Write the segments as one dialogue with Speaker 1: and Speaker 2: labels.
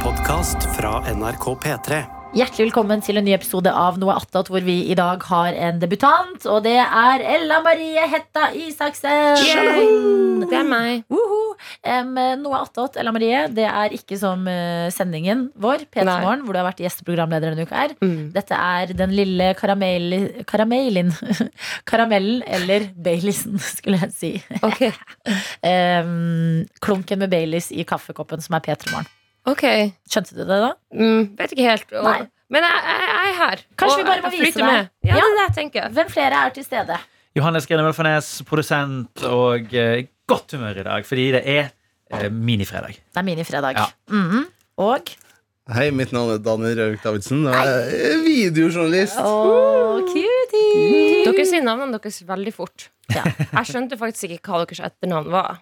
Speaker 1: podkast fra NRK P3.
Speaker 2: Hjertelig velkommen til en ny episode av Noe attåt, hvor vi i dag har en debutant. Og det er Ella Marie Hetta Isaksen.
Speaker 3: Det er meg.
Speaker 2: Woho! Em, Noe attåt, Ella Marie, det er ikke som eh, sendingen vår, P3
Speaker 3: Nei.
Speaker 2: Morgen, hvor du har vært gjesteprogramleder denne uka. her Dette er den lille karamell, karamellen Karamellen eller Baileysen, skulle jeg si.
Speaker 3: Ok.
Speaker 2: Em, klunken med Baileys i kaffekoppen, som er P3 Morgen.
Speaker 3: ok.
Speaker 2: Skjønte du det da?
Speaker 3: Mm, vet ikke helt. Og,
Speaker 2: Nei.
Speaker 3: Men jeg, jeg, jeg er her.
Speaker 2: Kanskje
Speaker 3: og
Speaker 2: vi bare
Speaker 3: jeg
Speaker 2: må vise
Speaker 3: flyter
Speaker 2: deg.
Speaker 3: Med. Ja,
Speaker 2: Ja.
Speaker 3: det er det jeg tenker jeg.
Speaker 2: Hvem flere er til stede?
Speaker 4: Johannes Grene Melfarnes, produsent og eh, i godt humør i dag, fordi det er eh, minifredag.
Speaker 2: Det er minifredag.
Speaker 4: Ja.
Speaker 2: Mhm. Og
Speaker 5: Hei, mitt navn er Daniel Røvik Davidsen. og Jeg er videojournalist.
Speaker 2: Åh, cutie!
Speaker 3: Dere sier navnene deres veldig fort.
Speaker 2: Ja.
Speaker 3: Jeg skjønte faktisk ikke hva deres etternavn var.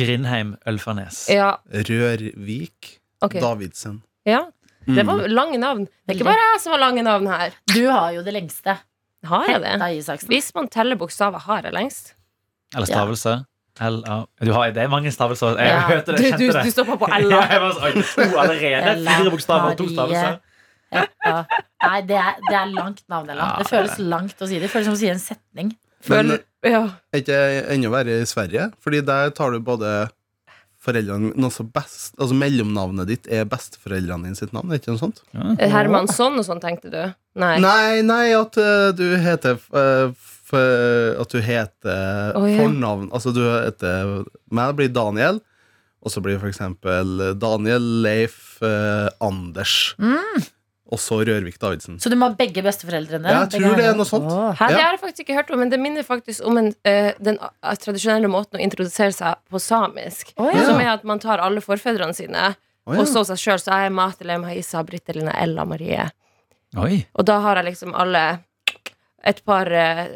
Speaker 4: Grindheim Ølfarnes.
Speaker 2: Eh,
Speaker 3: Ja,
Speaker 5: Rørvik
Speaker 3: ok.
Speaker 5: Davidsen.
Speaker 3: Ja, det
Speaker 4: Mm.
Speaker 3: var lange navn. Det er ikke bare jeg som har lange navn her.
Speaker 2: Du har jo det lengste.
Speaker 3: Har jeg
Speaker 2: Hetta
Speaker 3: det?
Speaker 2: Isaksen.
Speaker 3: Hvis man teller bokstaver, har jeg lengst.
Speaker 4: Eller stavelse. L-A- Du har, det er mange stavelser. Jeg
Speaker 2: Ja.
Speaker 4: hørte det, jeg
Speaker 3: du,
Speaker 4: kjente det.
Speaker 3: du stopper på
Speaker 4: Ja,
Speaker 3: L-a.
Speaker 4: jeg var sånn, oi, to allerede.
Speaker 2: Ella
Speaker 4: Fire bokstaver og to
Speaker 2: Marie.
Speaker 4: stavelser.
Speaker 2: Ja. Nei, det er, det er langt navn. Ella.
Speaker 4: Ja,
Speaker 2: det føles langt å si det. Det føles som å si en setning.
Speaker 5: Men
Speaker 3: Føl- Ja.
Speaker 5: er ikke enda verre i Sverige? Fordi der tar du både foreldrene men også best, altså Mellomnavnet ditt er besteforeldrene dine sitt navn? Er ikke noe sånt?
Speaker 3: Hermansson og sånn, tenkte du? Nei.
Speaker 5: Nei, nei, at eh, du heter eh, f, eh, At du heter
Speaker 3: Å, ja.
Speaker 5: fornavn Altså, du heter Meg blir Daniel, og så blir for eksempel Daniel Leif eh, Anders.
Speaker 3: Mm.
Speaker 5: Og så Rørvik Davidsen.
Speaker 2: Så du må ha begge besteforeldrene?
Speaker 5: Ja,
Speaker 2: Begge
Speaker 5: jeg tror det er
Speaker 2: herrene.
Speaker 5: noe sånt.
Speaker 2: Åh.
Speaker 3: Her,
Speaker 5: Ja.
Speaker 3: Det har jeg faktisk ikke hørt om, men det minner faktisk om en, eh, den eh, tradisjonelle måten å introdusere seg på samisk.
Speaker 2: Å, ja.
Speaker 3: Som er at man tar alle forfedrene sine,
Speaker 5: Å, ja.
Speaker 3: og så seg sjøl. Så jeg er Matelem Haisa Brittelina Ella Marie.
Speaker 4: Oi.
Speaker 3: Og da har jeg liksom alle et par eh,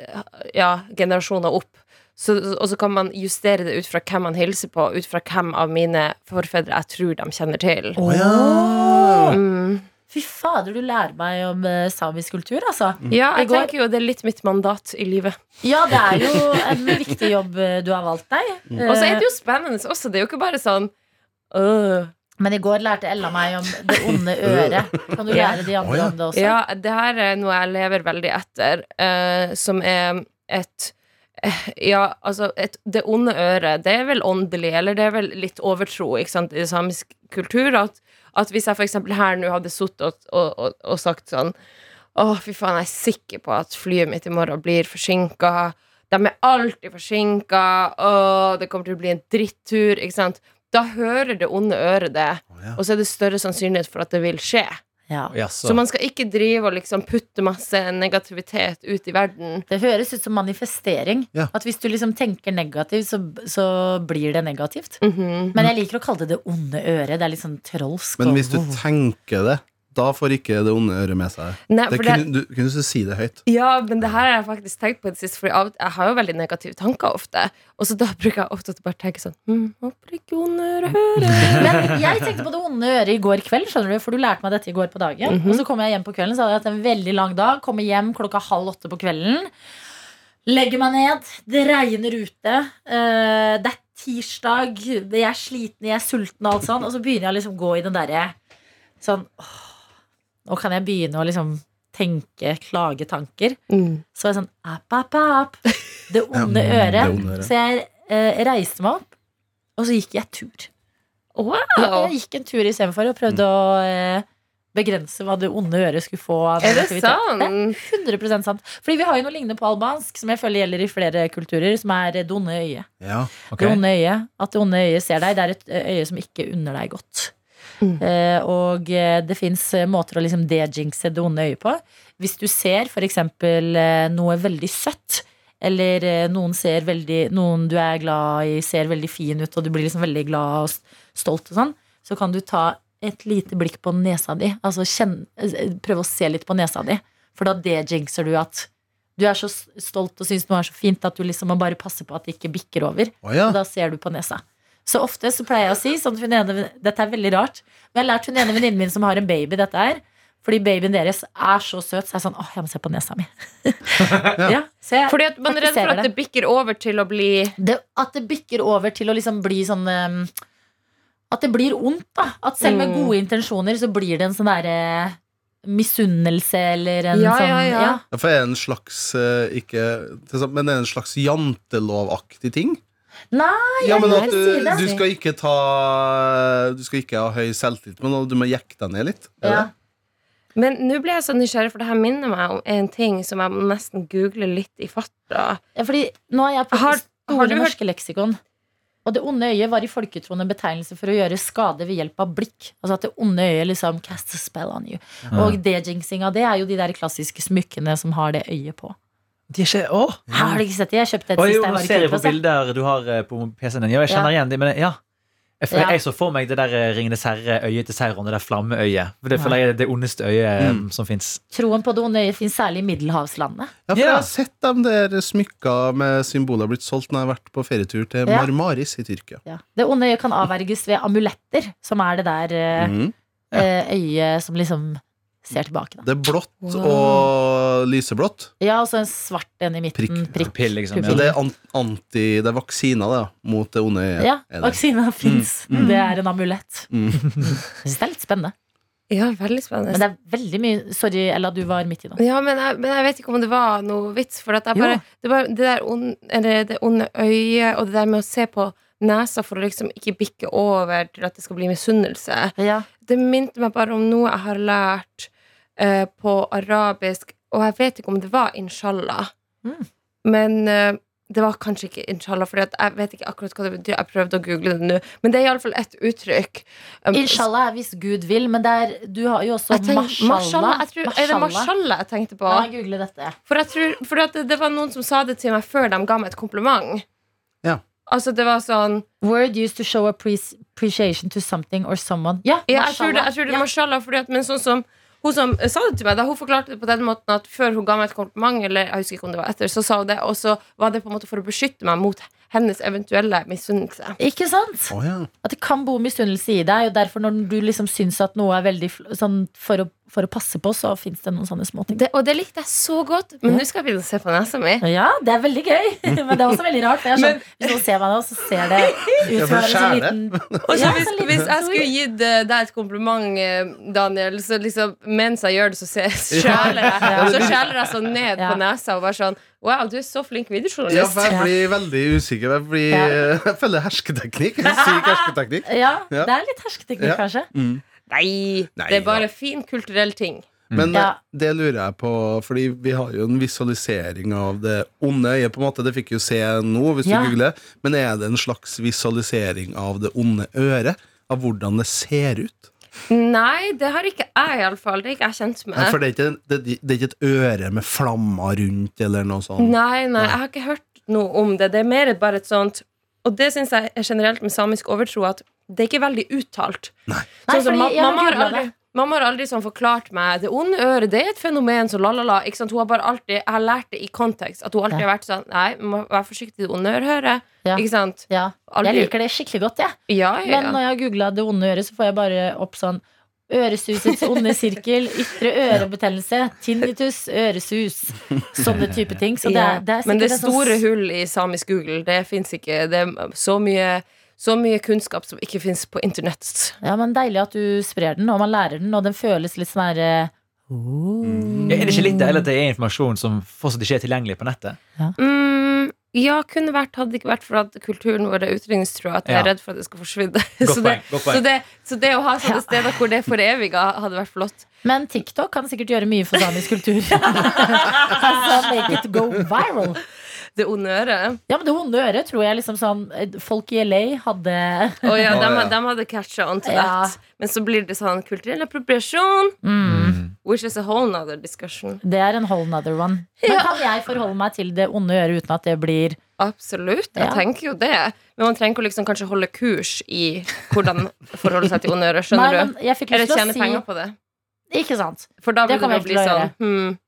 Speaker 3: ja, generasjoner opp. Så, og så kan man justere det ut fra hvem man hilser på, ut fra hvem av mine forfedre jeg tror de kjenner til.
Speaker 5: Å, ja.
Speaker 3: Mm.
Speaker 2: Fy fader, du lærer meg om eh, samisk kultur, altså.
Speaker 3: Ja,
Speaker 2: I
Speaker 3: jeg
Speaker 2: går-
Speaker 3: tenker jo det er litt mitt mandat i livet.
Speaker 2: Ja, det er jo en viktig jobb eh, du har valgt deg.
Speaker 3: Mm.
Speaker 2: Eh,
Speaker 3: Og så er det jo spennende også. Det er jo ikke bare sånn øh,
Speaker 2: Men i går lærte Ella meg om det onde øret. Kan du
Speaker 3: Ja.
Speaker 2: lære de andre
Speaker 5: Å, ja.
Speaker 2: om det også?
Speaker 3: Ja, det her er noe jeg lever veldig etter, eh, som er et eh, ja, altså et, Det onde øret, det er vel åndelig, eller det er vel litt overtro ikke sant, i samisk kultur. At, at hvis jeg f.eks. her nå hadde sittet og, og, og, og sagt sånn Å, fy faen, jeg er sikker på at flyet mitt i morgen blir forsinka. De er alltid forsinka. Å, det kommer til å bli en drittur. Ikke sant? Da hører det onde øret det,
Speaker 5: Å, ja.
Speaker 3: og så er det større sannsynlighet for at det vil skje.
Speaker 2: Ja.
Speaker 4: Jaså.
Speaker 3: Så man skal ikke drive og liksom putte masse negativitet ut i verden.
Speaker 2: Det høres ut som manifestering.
Speaker 5: Ja.
Speaker 2: At hvis du liksom tenker negativt, så, så blir det negativt.
Speaker 3: Mhm.
Speaker 2: Men jeg liker å kalle det det onde øret. Det er litt sånn trolsk.
Speaker 5: Men
Speaker 2: og-
Speaker 5: hvis du tenker det, da får ikke det onde øret med seg
Speaker 3: Nei,
Speaker 5: det.
Speaker 3: for det,
Speaker 5: Kunne du, kunne du si det høyt?
Speaker 3: ja, men det her har jeg faktisk tenkt på i det siste, for jeg har jo veldig negative tanker ofte. Og så da bruker jeg ofte å bare tenke sånn hm, Håper ikke hun hører hører.
Speaker 2: Men jeg tenkte på det onde øret i går kveld, skjønner du, for du lærte meg dette i går på dagen. Og så kom jeg hjem på kvelden, så hadde jeg hatt en veldig lang dag. Kommer hjem klokka halv åtte på kvelden. Legger meg ned, det regner ute. eh, det er tirsdag, det- jeg er sliten, jeg er sulten og alt sånn. Og så begynner jeg å liksom gå i den derre sånn åh, Nå kan jeg begynne å liksom tenke klagetanker.
Speaker 3: Mm.
Speaker 2: Så var jeg sånn app, app, app. Det onde
Speaker 5: Ja, det
Speaker 2: øret.
Speaker 5: onde øret.
Speaker 2: Så jeg eh, reiste meg opp, og så gikk jeg tur. Ja,
Speaker 3: Wow!
Speaker 2: jeg gikk en tur istedenfor og prøvde å eh, begrense hva det onde øret skulle få. av
Speaker 3: Er det
Speaker 2: negativitet.
Speaker 3: sant?
Speaker 2: Det er 100 sant. Fordi vi har jo noe lignende på albansk, som jeg føler gjelder i flere kulturer, som er det onde øyet.
Speaker 5: Ja.
Speaker 4: Ok.
Speaker 2: Det onde øyet. At det onde øyet ser deg. Det er et eh, øye som ikke unner deg godt.
Speaker 3: Mm.
Speaker 2: Eh, og eh, det fins måter å liksom dejinxe det onde øyet på. Hvis du ser f.eks. Eh, noe veldig søtt, eller eh, noen, ser veldig, noen du er glad i, ser veldig fin ut, og du blir liksom veldig glad og s- stolt og sånn, så kan du ta et lite blikk på nesa di. Altså kjenn, eh, prøve å se litt på nesa di, for da dejinxer du at du er så s- stolt og syns noe er så fint at du liksom må bare passe på at det ikke bikker over.
Speaker 5: Å ja.
Speaker 2: Og da ser du på nesa. Så ofte så pleier jeg å si sånn til hun ene, Dette er veldig rart. Men jeg har lært hun ene venninnen min som har en baby, dette her. Fordi babyen deres er så søt, så jeg er sånn åh, jeg må se på nesa mi. ja, så jeg,
Speaker 3: Fordi at man er redd for at det bikker over til å bli
Speaker 2: det, at det bikker over til å liksom bli sånn um, At det blir ondt, da. At selv med
Speaker 3: Mm.
Speaker 2: gode intensjoner så blir det en sånn derre misunnelse eller en
Speaker 3: Ja,
Speaker 2: sånn
Speaker 3: ja, ja.
Speaker 5: Ja, for er det en slags eh, Ikke til sammen, Men er det en slags jantelovaktig ting?
Speaker 2: Nei,
Speaker 5: Ja, men
Speaker 2: jeg
Speaker 5: at
Speaker 2: sier
Speaker 5: du,
Speaker 2: det.
Speaker 5: du skal ikke ta Du skal ikke ha høy selvtillit, men du må jekke deg ned litt. Er det
Speaker 2: ja.
Speaker 5: det?
Speaker 3: Men nå ble jeg så nysgjerrig, for det her minner meg om en ting som jeg må nesten google litt i farta.
Speaker 2: Ja, fordi nå er jeg på
Speaker 3: Har- har
Speaker 2: Store
Speaker 3: du hørt-
Speaker 2: norske leksikon. Og det onde øyet var i folketroen en betegnelse for å gjøre skade ved hjelp av blikk. Altså at det onde øyet liksom casts a spell on you. Og dejinxing av det er jo de der klassiske smykkene som har det øyet på.
Speaker 4: De er ikke Å!
Speaker 2: Her har du ikke sett det? Jeg kjøpte et
Speaker 4: Og
Speaker 2: sist
Speaker 4: jo,
Speaker 2: jeg
Speaker 4: nå
Speaker 2: var i
Speaker 4: ser jeg på
Speaker 2: Kypros. jeg.
Speaker 4: bilder du har eh, på PC-en din. Ja, jeg kjenner igjen de, men ja. Jeg, for,
Speaker 2: Ja.
Speaker 4: jeg så for meg det der eh, Ringenes herre-øyet til Sauron, det der flammeøyet. For det
Speaker 2: Ja.
Speaker 4: føler jeg er det ondeste øyet eh,
Speaker 5: Mm.
Speaker 4: som fins.
Speaker 2: Troen på det onde øyet fins særlig i middelhavslandene.
Speaker 5: Ja, for
Speaker 4: Ja.
Speaker 5: Jeg har sett de der smykka med symboler blitt solgt når jeg har vært på ferietur til
Speaker 2: Ja.
Speaker 5: Marmaris i Tyrkia.
Speaker 2: Det onde øyet kan avverges ved amuletter, som er det der
Speaker 4: Mm.
Speaker 2: eh,
Speaker 5: Mhm.
Speaker 2: eh, øyet som liksom ser tilbake. Da.
Speaker 5: Det er blått
Speaker 3: Wow.
Speaker 5: og lyseblått.
Speaker 2: Ja, og så en svart en i midten.
Speaker 5: Prikk.
Speaker 2: Prikk.
Speaker 4: Pill, liksom.
Speaker 5: Så
Speaker 2: Pupill.
Speaker 4: Ja.
Speaker 5: det er, an anti, det er vaksiner det, mot det onde øyet.
Speaker 2: Ja,
Speaker 5: Er det.
Speaker 2: vaksina fins.
Speaker 5: Mm.
Speaker 2: Det er en amulett.
Speaker 5: Mm.
Speaker 2: Jeg syns det er litt spennende.
Speaker 3: Ja, veldig spennende.
Speaker 2: Men det er veldig mye Sorry, Ella, du var midt i nå.
Speaker 3: Ja, men jeg, men jeg vet ikke om det var noe vits. For at jeg
Speaker 2: Jo.
Speaker 3: bare, det, var det der ond, eller det onde øyet og det der med å se på nesa for å liksom ikke bikke over til at det skal bli misunnelse,
Speaker 2: Ja.
Speaker 3: det minte meg bare om noe jeg har lært eh, på arabisk, og jeg vet ikke om det var inshallah.
Speaker 2: Mm.
Speaker 3: Men eh, det var kanskje ikke inshallah, for jeg vet ikke akkurat hva det betyr. Jeg prøvde å google det nå, men det er iallfall ett uttrykk. Um,
Speaker 2: Inshallah er hvis Gud vil, men det er, du har jo også
Speaker 3: jeg tenker-
Speaker 2: mashallah.
Speaker 3: Jeg tror, er det mashallah jeg tenkte på?
Speaker 2: Ja, google dette.
Speaker 3: For jeg tror for at det, det var noen som sa det til meg før de ga meg et kompliment.
Speaker 5: Ja.
Speaker 3: Altså, det var sånn
Speaker 2: Word used to show appre- appreciation to something or someone. Ja,
Speaker 3: Ja, jeg tror det,
Speaker 2: mashallah.
Speaker 3: jeg tror det
Speaker 2: Ja.
Speaker 3: er mashallah, fordi at, men sånn som hun som sa det til meg, da hun forklarte det på den måten at før hun ga meg et kompliment, eller jeg husker ikke om det var etter, så sa hun det, og så var det på en måte for å beskytte meg mot hennes eventuelle misunnelse.
Speaker 2: Ikke sant?
Speaker 5: Å, ja.
Speaker 2: At det kan bo misunnelse i deg, og derfor når du liksom syns at noe er veldig fl- sånn for å, for å passe på, så fins det noen sånne småting.
Speaker 3: Det, og det likte jeg så godt, men
Speaker 2: Ja.
Speaker 3: nå skal jeg begynne å se på nesa mi.
Speaker 2: Ja, det er veldig gøy, men det er også veldig rart. For jeg er sånn, hvis noen ser meg nå, så ser det ut
Speaker 5: Ja,
Speaker 2: som
Speaker 5: for
Speaker 2: en sånn
Speaker 5: skjære.
Speaker 2: liten
Speaker 3: Og så
Speaker 2: Ja,
Speaker 3: hvis,
Speaker 2: sånn liten
Speaker 3: hvis jeg
Speaker 2: stor.
Speaker 3: skulle gitt eh, deg et kompliment, eh, Daniel, så liksom mens jeg gjør det, så ser- skjæler jeg Så skjæler jeg sånn ned
Speaker 2: Ja.
Speaker 3: på nesa og bare sånn Wow, du er så flink
Speaker 5: ja, for
Speaker 3: videojournalist.
Speaker 5: jeg blir veldig usikker. Jeg, blir,
Speaker 2: Ja.
Speaker 5: jeg føler hersketeknikk. Jeg sier ikke hersketeknikk.
Speaker 2: Ja,
Speaker 5: Ja.
Speaker 2: det er litt hersketeknikk,
Speaker 5: Ja.
Speaker 2: kanskje.
Speaker 5: Mm.
Speaker 3: Nei,
Speaker 5: Nei,
Speaker 3: det er
Speaker 5: da.
Speaker 3: bare fin kulturell ting.
Speaker 5: Men
Speaker 2: Mm. Ja.
Speaker 5: eh, det lurer jeg på, fordi vi har jo en visualisering av det onde øyet. på en måte, Det fikk vi jo se nå, hvis
Speaker 2: Ja.
Speaker 5: du googler. Men er det en slags visualisering av det onde øret? Av hvordan det ser ut?
Speaker 3: Nei, det har ikke jeg, iallfall. Det er ikke jeg kjent
Speaker 5: Nei,
Speaker 3: med.
Speaker 5: for det er, ikke, det, det er ikke et øre med flammer rundt, eller noe sånt.
Speaker 3: Nei, nei, jeg har ikke hørt noe om det. Det er mer bare et sånt Og det syns jeg er generelt med samisk overtro, at det er ikke veldig uttalt.
Speaker 2: Nei,
Speaker 3: Sånn som
Speaker 2: fordi
Speaker 3: ma-
Speaker 2: jeg har
Speaker 3: mamma, har
Speaker 2: googlet
Speaker 3: aldri, mamma har aldri sånn forklart meg Det onde øret det er et fenomen som la-la-la. Ikke sant? Hun har bare alltid, Jeg har lært det i kontekst. At hun alltid
Speaker 2: Ja.
Speaker 3: har vært sånn Nei, du må være forsiktig, det onde øret hører.
Speaker 2: Ja.
Speaker 3: Ikke sant?
Speaker 2: det. Ja.
Speaker 3: Aldri.
Speaker 2: Jeg liker det skikkelig godt, jeg.
Speaker 3: Ja, ja,
Speaker 2: Men
Speaker 3: ja.
Speaker 2: når jeg har googla det onde øret, så får jeg bare opp sånn Øresusets onde sirkel, ytre ørebetennelse, tinnitus, øresus. Sånne type ting. Så det er, det er
Speaker 3: Men det
Speaker 2: sikkert en sånn-
Speaker 3: store hull i samisk Google, det fins ikke. Det er så mye, så mye kunnskap som ikke fins på internett.
Speaker 2: Ja, men Deilig at du sprer den, og man lærer den, og den føles litt sånn her eh,
Speaker 5: Mm.
Speaker 4: Ja, Er det ikke litt det, eller at det er informasjon som fortsatt ikke er tilgjengelig på nettet?
Speaker 3: Mm, ja, kunne vært, hadde det ikke vært for at kulturen vår er utrydningstrua, at jeg er
Speaker 4: Ja.
Speaker 3: redd for at det skal forsvinne.
Speaker 4: Godt
Speaker 3: Så det,
Speaker 4: poeng. godt
Speaker 3: så,
Speaker 4: poeng
Speaker 3: det, så det å ha
Speaker 2: Ja.
Speaker 3: sånne steder hvor det er foreviga, hadde vært flott.
Speaker 2: Men TikTok kan sikkert gjøre mye for samisk kultur. altså, make it go viral.
Speaker 3: Det onde øret.
Speaker 2: Ja, men det onde øret tror jeg liksom sånn eh, Folk i LA hadde
Speaker 3: Å ja,
Speaker 5: Å,
Speaker 3: de,
Speaker 5: ja.
Speaker 3: de hadde catcha on to
Speaker 2: Ja.
Speaker 3: that. Men så blir det sånn kulturell appropriasjon,
Speaker 2: mm.
Speaker 4: Mm.
Speaker 3: which is a whole nother discussion.
Speaker 2: Det er en whole nother one. Men kan jeg forholde meg til det onde øret uten at det blir
Speaker 3: Absolutt. Jeg
Speaker 2: Ja.
Speaker 3: tenker jo det. Men man trenger ikke å liksom kanskje holde kurs i hvordan forholde seg til onde ører.
Speaker 2: Nei,
Speaker 3: Skjønner
Speaker 2: men jeg fikk
Speaker 3: du? Eller
Speaker 2: lyst til å
Speaker 3: tjene
Speaker 2: si
Speaker 3: penger på det.
Speaker 2: Ikke sant.
Speaker 3: For da
Speaker 2: Det
Speaker 3: vil det,
Speaker 2: kommer
Speaker 3: da
Speaker 2: jeg
Speaker 3: bli
Speaker 2: til å
Speaker 3: sånn
Speaker 2: gjøre.
Speaker 3: hmm,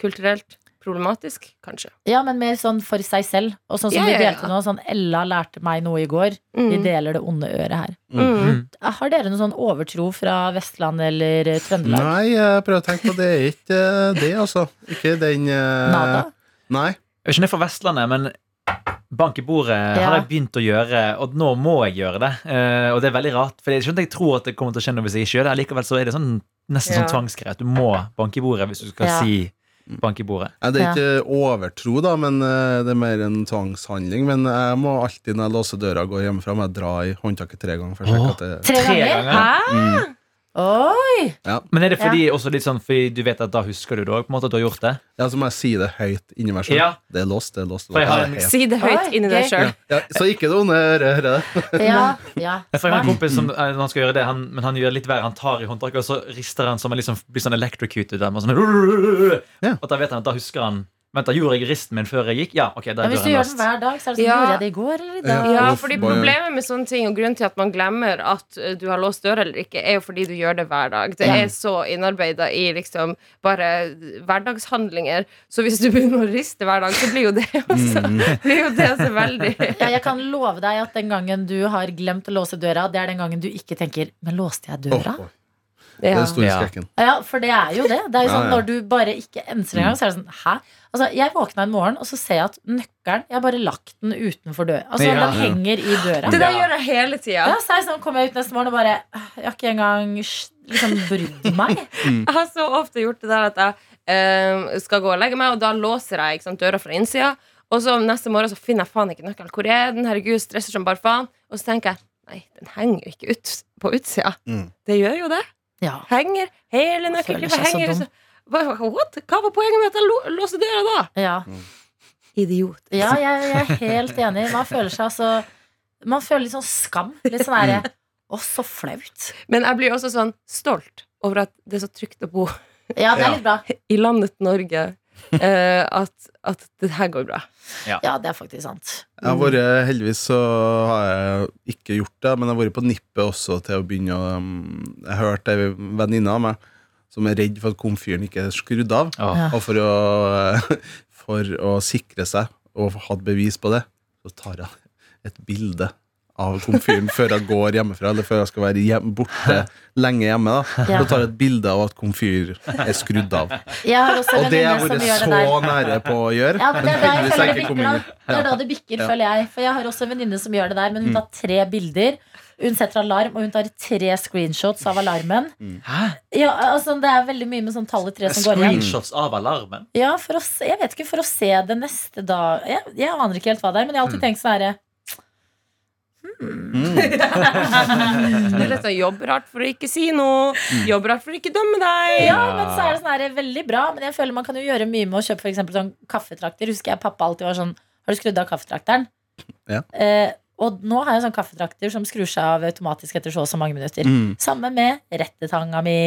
Speaker 3: kulturelt problematisk, kanskje.
Speaker 2: Ja, men mer sånn for seg selv. Og sånn som
Speaker 3: Ja,
Speaker 2: du
Speaker 3: ja, ja.
Speaker 2: delte nå, sånn Ella lærte meg noe i går. Vi
Speaker 3: Mm.
Speaker 2: deler det onde øret her.
Speaker 3: Mm.
Speaker 4: Mm.
Speaker 2: Har dere noen sånn overtro fra Vestland eller eh, Trøndelag?
Speaker 5: Nei, jeg prøver å tenke på det. er Ikke eh, det, altså. Ikke den eh,
Speaker 2: Nada?
Speaker 5: Nei.
Speaker 4: Jeg er ikke ned fra Vestlandet, men Bank i bordet
Speaker 2: Ja.
Speaker 4: har jeg begynt å gjøre, og nå må jeg gjøre det. Eh, og det er veldig rart, for jeg skjønner at jeg tror at det kommer til å skje noe hvis jeg ikke gjør det. Likevel så er det sånn, nesten
Speaker 3: Ja.
Speaker 4: sånn tvangsgreit. Du må banke i bordet hvis du skal
Speaker 2: Ja.
Speaker 4: si bank i bordet.
Speaker 5: Nei, det er ikke overtro, da, men eh, det er mer en tvangshandling. Men jeg må alltid når jeg låser døra og går hjemmefra, må jeg dra i håndtaket tre ganger. For å sjekke
Speaker 4: Åh.
Speaker 5: at det,
Speaker 2: Tre
Speaker 4: Tre
Speaker 2: ganger?
Speaker 4: ganger.
Speaker 2: Hæ?
Speaker 5: mm.
Speaker 2: Oi!
Speaker 4: Men er det fordi, også litt sånn, fordi du vet at da husker du det òg, på en måte, at du har gjort det?
Speaker 5: Ja, så må jeg si det høyt inni meg sjøl.
Speaker 4: Ja.
Speaker 5: Det er låst, det er låst.
Speaker 4: For jeg
Speaker 5: det er
Speaker 4: har en-
Speaker 5: helt-
Speaker 3: Si det høyt
Speaker 2: Oi,
Speaker 3: inni deg
Speaker 2: gøy.
Speaker 3: sjøl.
Speaker 5: ja, så ikke det onde øret, hører jeg det.
Speaker 2: Ja, ja.
Speaker 4: Jeg har en kompis som eh, når han skal gjøre det, han, men han gjør litt verre. Han tar i håndtaket, og så rister han som han liksom blir sånn electrocuted. Der, med sånn,
Speaker 5: Ja.
Speaker 4: Og da vet han at da husker han Vent, da gjorde jeg risten min før jeg gikk? Ja, ok, da
Speaker 2: ja, Hvis du
Speaker 4: gjør jeg
Speaker 2: gjør
Speaker 4: last.
Speaker 2: den hver dag, så er det sånn
Speaker 3: Ja.
Speaker 2: Gjorde jeg det i går eller i dag?
Speaker 5: Ja,
Speaker 3: Ja,
Speaker 5: uff,
Speaker 3: fordi
Speaker 5: bare-
Speaker 3: Problemet med sånne ting og grunnen til at man glemmer at eh, du har låst døra eller ikke, er jo fordi du gjør det hver dag. Det er så innarbeida i liksom bare hverdagshandlinger. Så hvis du begynner å riste hver dag, så blir jo det også,
Speaker 5: Mm.
Speaker 3: blir jo det også veldig
Speaker 2: Ja, jeg kan love deg at den gangen du har glemt å låse døra, det er den gangen du ikke tenker Men låste jeg døra?
Speaker 5: Åh, Det er
Speaker 3: ja.
Speaker 5: den store
Speaker 4: Ja.
Speaker 5: skrekken.
Speaker 2: Ja, for det er jo det. Det er jo
Speaker 5: Ja,
Speaker 2: sånn
Speaker 5: ja.
Speaker 2: Når du bare ikke enser engang, så er det sånn Hæ? Altså, Jeg våkna en morgen, og så ser jeg at nøkkelen Jeg har bare lagt den utenfor døra. Altså,
Speaker 4: Ja.
Speaker 2: Den henger i døra.
Speaker 3: Det der gjør jeg hele tida.
Speaker 2: Ja, så er det sånn, kommer jeg ut neste morgen og bare Jeg har ikke engang liksom brydd meg.
Speaker 5: Mm.
Speaker 3: Jeg har så ofte gjort det der at jeg eh, skal gå og legge meg, og da låser jeg ikke sant, døra fra innsida. Og så neste morgen så finner jeg faen ikke nøkkelen. Hvor er den? Herregud, stresser som bare faen. Og så tenker jeg nei, den henger jo ikke ut på utsida.
Speaker 5: Mm.
Speaker 3: Det gjør jo det.
Speaker 2: Ja.
Speaker 3: Henger hele
Speaker 2: Føler
Speaker 3: nøkkelklippet.
Speaker 2: seg så
Speaker 3: henger
Speaker 2: dum.
Speaker 3: så Hva- What? Hva var poenget med at jeg lo- låste døra da?
Speaker 2: ja.
Speaker 3: Idiot.
Speaker 2: Ja, jeg, jeg er helt enig. Man føler seg altså Man føler litt sånn skam. Litt sånn derre
Speaker 5: Mm.
Speaker 2: Å, så flaut.
Speaker 3: Men jeg blir også sånn stolt over at det er så trygt å bo
Speaker 2: Ja, det er
Speaker 5: Ja.
Speaker 2: litt bra.
Speaker 3: i landet Norge. eh, at, at det her går bra.
Speaker 2: Ja, det er faktisk sant.
Speaker 5: Jeg har vært, heldigvis så har jeg ikke gjort det, men jeg har vært på nippet også til å begynne å um, Jeg hørte ei venninne av meg som er redd for at komfyren ikke er skrudd av.
Speaker 4: Åh.
Speaker 2: Ja.
Speaker 5: Og for å, for å sikre seg og ha et bevis på det, så tar jeg et bilde av komfyren før jeg går hjemmefra, eller før jeg skal være hjem, borte lenge hjemme. da
Speaker 2: Ja.
Speaker 5: Så tar jeg et bilde av at komfyr er skrudd av.
Speaker 2: Jeg har også en
Speaker 5: Og det
Speaker 2: venninne som gjør
Speaker 5: har jeg vært
Speaker 2: det der.
Speaker 5: så nære på å gjøre.
Speaker 2: Ja, men det er da jeg
Speaker 5: heldigvis har
Speaker 2: føler det
Speaker 5: jeg ikke
Speaker 2: bikker. Da.
Speaker 5: kommet ut.
Speaker 2: Det er da det bikker,
Speaker 5: Ja. Mm.
Speaker 2: føler jeg. For jeg har også en venninne som gjør det der, men hun tar tre bilder. Hun setter alarm, og hun tar tre screenshots av alarmen.
Speaker 4: Hæ?
Speaker 2: Ja, altså Det er veldig mye med sånn tallet tre som går igjen.
Speaker 4: Screenshots av alarmen?
Speaker 2: Ja, for å, se- jeg vet ikke, for å se det neste dag jeg, jeg aner ikke helt hva det er, men jeg har alltid tenkt sånn herre
Speaker 5: Mm.
Speaker 3: Det er litt sånn jobber hardt for å ikke si noe. Jobber hardt for å ikke dømme deg.
Speaker 2: Ja, men så er det sånn her, veldig bra. Men jeg føler man kan jo gjøre mye med å kjøpe for eksempel sånn kaffetrakter. Husker jeg pappa alltid var sånn Har du skrudd av kaffetrakteren?
Speaker 5: Ja.
Speaker 2: Eh, og nå har jeg sånn kaffetrakter som skrur seg av automatisk etter så og så mange minutter.
Speaker 5: Mm.
Speaker 2: Samme med rettetanga mi.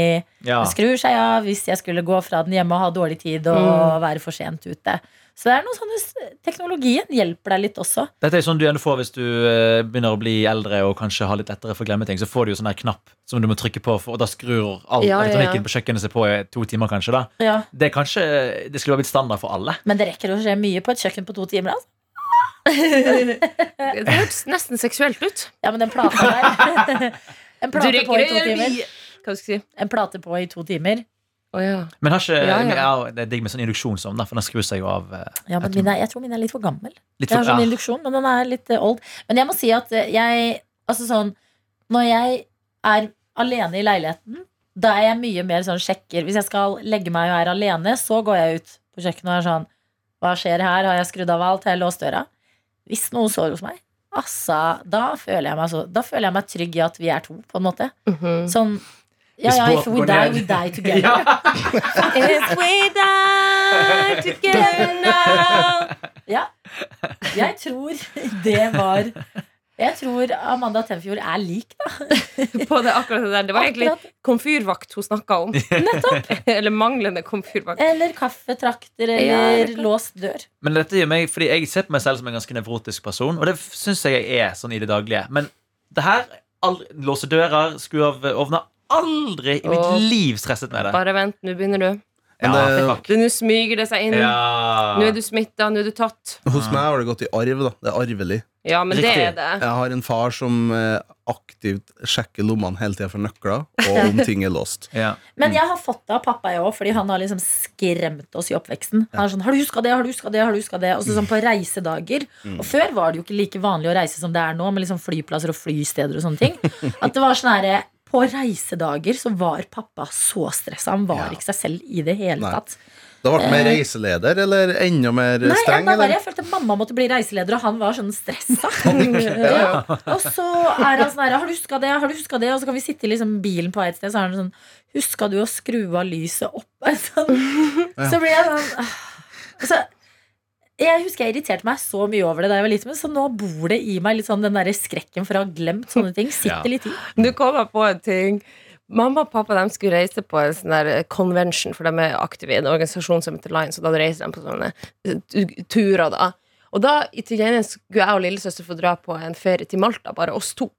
Speaker 4: Ja.
Speaker 2: Den Skrur seg av hvis jeg skulle gå fra den hjemme og ha dårlig tid og
Speaker 3: Mm.
Speaker 2: være for sent ute. Så det er noe sånne s- Teknologien hjelper deg litt også.
Speaker 4: Dette er sånn du gjerne får hvis du eh, begynner å bli eldre og kanskje har litt lettere for å glemme ting. Så får du jo sånn her knapp som du må trykke på, for, og da skrur all
Speaker 3: Ja, ja, ja.
Speaker 4: elektronikken på kjøkkenet seg på i to timer, kanskje. da Det er kanskje, det skulle ha blitt standard for alle.
Speaker 2: Men det rekker å skje mye på et kjøkken på to timer. Altså. Eh.
Speaker 3: Det hørtes nesten seksuelt ut.
Speaker 2: Ja, men den plata der En plate på i to timer.
Speaker 3: Hva skal jeg si?
Speaker 2: En plate på i to timer.
Speaker 3: Å ja.
Speaker 4: Men har ikke,
Speaker 3: Ja, ja.
Speaker 4: ja, det er digg med sånn induksjonsovn, da, for den skrur seg jo av eh,
Speaker 2: Ja, men
Speaker 4: Jeg tror-
Speaker 2: min er, jeg tror min er litt for gammel.
Speaker 4: litt
Speaker 2: Jeg har sånn
Speaker 4: ja.
Speaker 2: induksjon, men den er litt eh, old. Men jeg må si at eh, jeg Altså sånn Når jeg er alene i leiligheten, da er jeg mye mer sånn sjekker. Hvis jeg skal legge meg og er alene, så går jeg ut på kjøkkenet og er sånn Hva skjer her? Har jeg skrudd av alt? Har jeg låst døra? Hvis noen sover hos meg, altså Da føler jeg meg, så, da føler jeg meg trygg i at vi er to, på en måte. Sånn Ja,
Speaker 4: Mm. Hvis
Speaker 2: ja, if
Speaker 4: båten
Speaker 2: we
Speaker 4: går
Speaker 2: die,
Speaker 4: ned.
Speaker 2: we die together.
Speaker 3: If we die together now
Speaker 2: Ja. Jeg tror det var Jeg tror Amanda Tenfjord er lik, da.
Speaker 3: På det akkurat det der. Det var egentlig
Speaker 2: Akkurat.
Speaker 3: komfyrvakt hun snakka om.
Speaker 2: Nettopp.
Speaker 3: Eller manglende komfyrvakt.
Speaker 2: Eller kaffetrakter
Speaker 3: Ja,
Speaker 2: eller
Speaker 3: det kan-
Speaker 2: låst dør.
Speaker 4: Men dette gjør meg, fordi jeg ser på meg selv som en ganske nevrotisk person, og det syns jeg jeg er sånn i det daglige. Men det her, aldri, låse dører, skru av eh, ovner, aldri i mitt
Speaker 3: Åh.
Speaker 4: liv stresset med det.
Speaker 3: Bare vent, nå begynner du.
Speaker 5: Men det,
Speaker 4: fuck.
Speaker 3: Du- Nå smyger det seg inn.
Speaker 4: Ja.
Speaker 3: Mm. Nå er du smitta, nå er du tatt.
Speaker 5: hos meg har det gått i arv. da Det er arvelig.
Speaker 3: Ja, men det
Speaker 4: Riktig.
Speaker 3: er det.
Speaker 5: Jeg har en far som eh, aktivt sjekker lommene hele tida for nøkler, og om ting er låst.
Speaker 4: Ja.
Speaker 3: Mm.
Speaker 2: Men jeg har fått det av pappa, jeg òg, fordi han har liksom skremt oss i oppveksten. Han er sånn, har du huska det, har du huska det, har du husket det? Og så sånn
Speaker 3: Mm.
Speaker 2: på reisedager. Og før var det jo ikke like vanlig å reise som det er nå, med liksom flyplasser og flysteder og sånne ting. At det var sånn herre På reisedager så var pappa så stressa. Han var
Speaker 5: Ja.
Speaker 2: ikke seg selv i det hele
Speaker 5: Nei.
Speaker 2: tatt.
Speaker 5: Da ble han mer reiseleder, eller enda mer
Speaker 2: Nei,
Speaker 5: streng?
Speaker 2: enda verre.
Speaker 5: Eller?
Speaker 2: Jeg følte at mamma måtte bli reiseleder, og han var sånn stressa. ja. Og så er han sånn her Har du huska det? Har du huska det? Og så kan vi sitte i liksom bilen på vei et sted, så er han sånn Huska du å skru av lyset opp? Sånn. Så blir jeg sånn «Åh». så, Jeg husker jeg irriterte meg så mye over det da jeg var liten, men så nå bor det i meg litt sånn den der skrekken for å ha glemt sånne ting.
Speaker 4: Ja.
Speaker 2: Sitter litt i.
Speaker 3: Du kommer på en ting. Mamma og pappa de skulle reise på en sånn der convention, for de er aktive i en organisasjon som heter Lions, og da reiser de på sånne eh, tu- turer, da. Og da i til gjengjeld skulle jeg og lillesøster få dra på en ferie til Malta, bare oss to.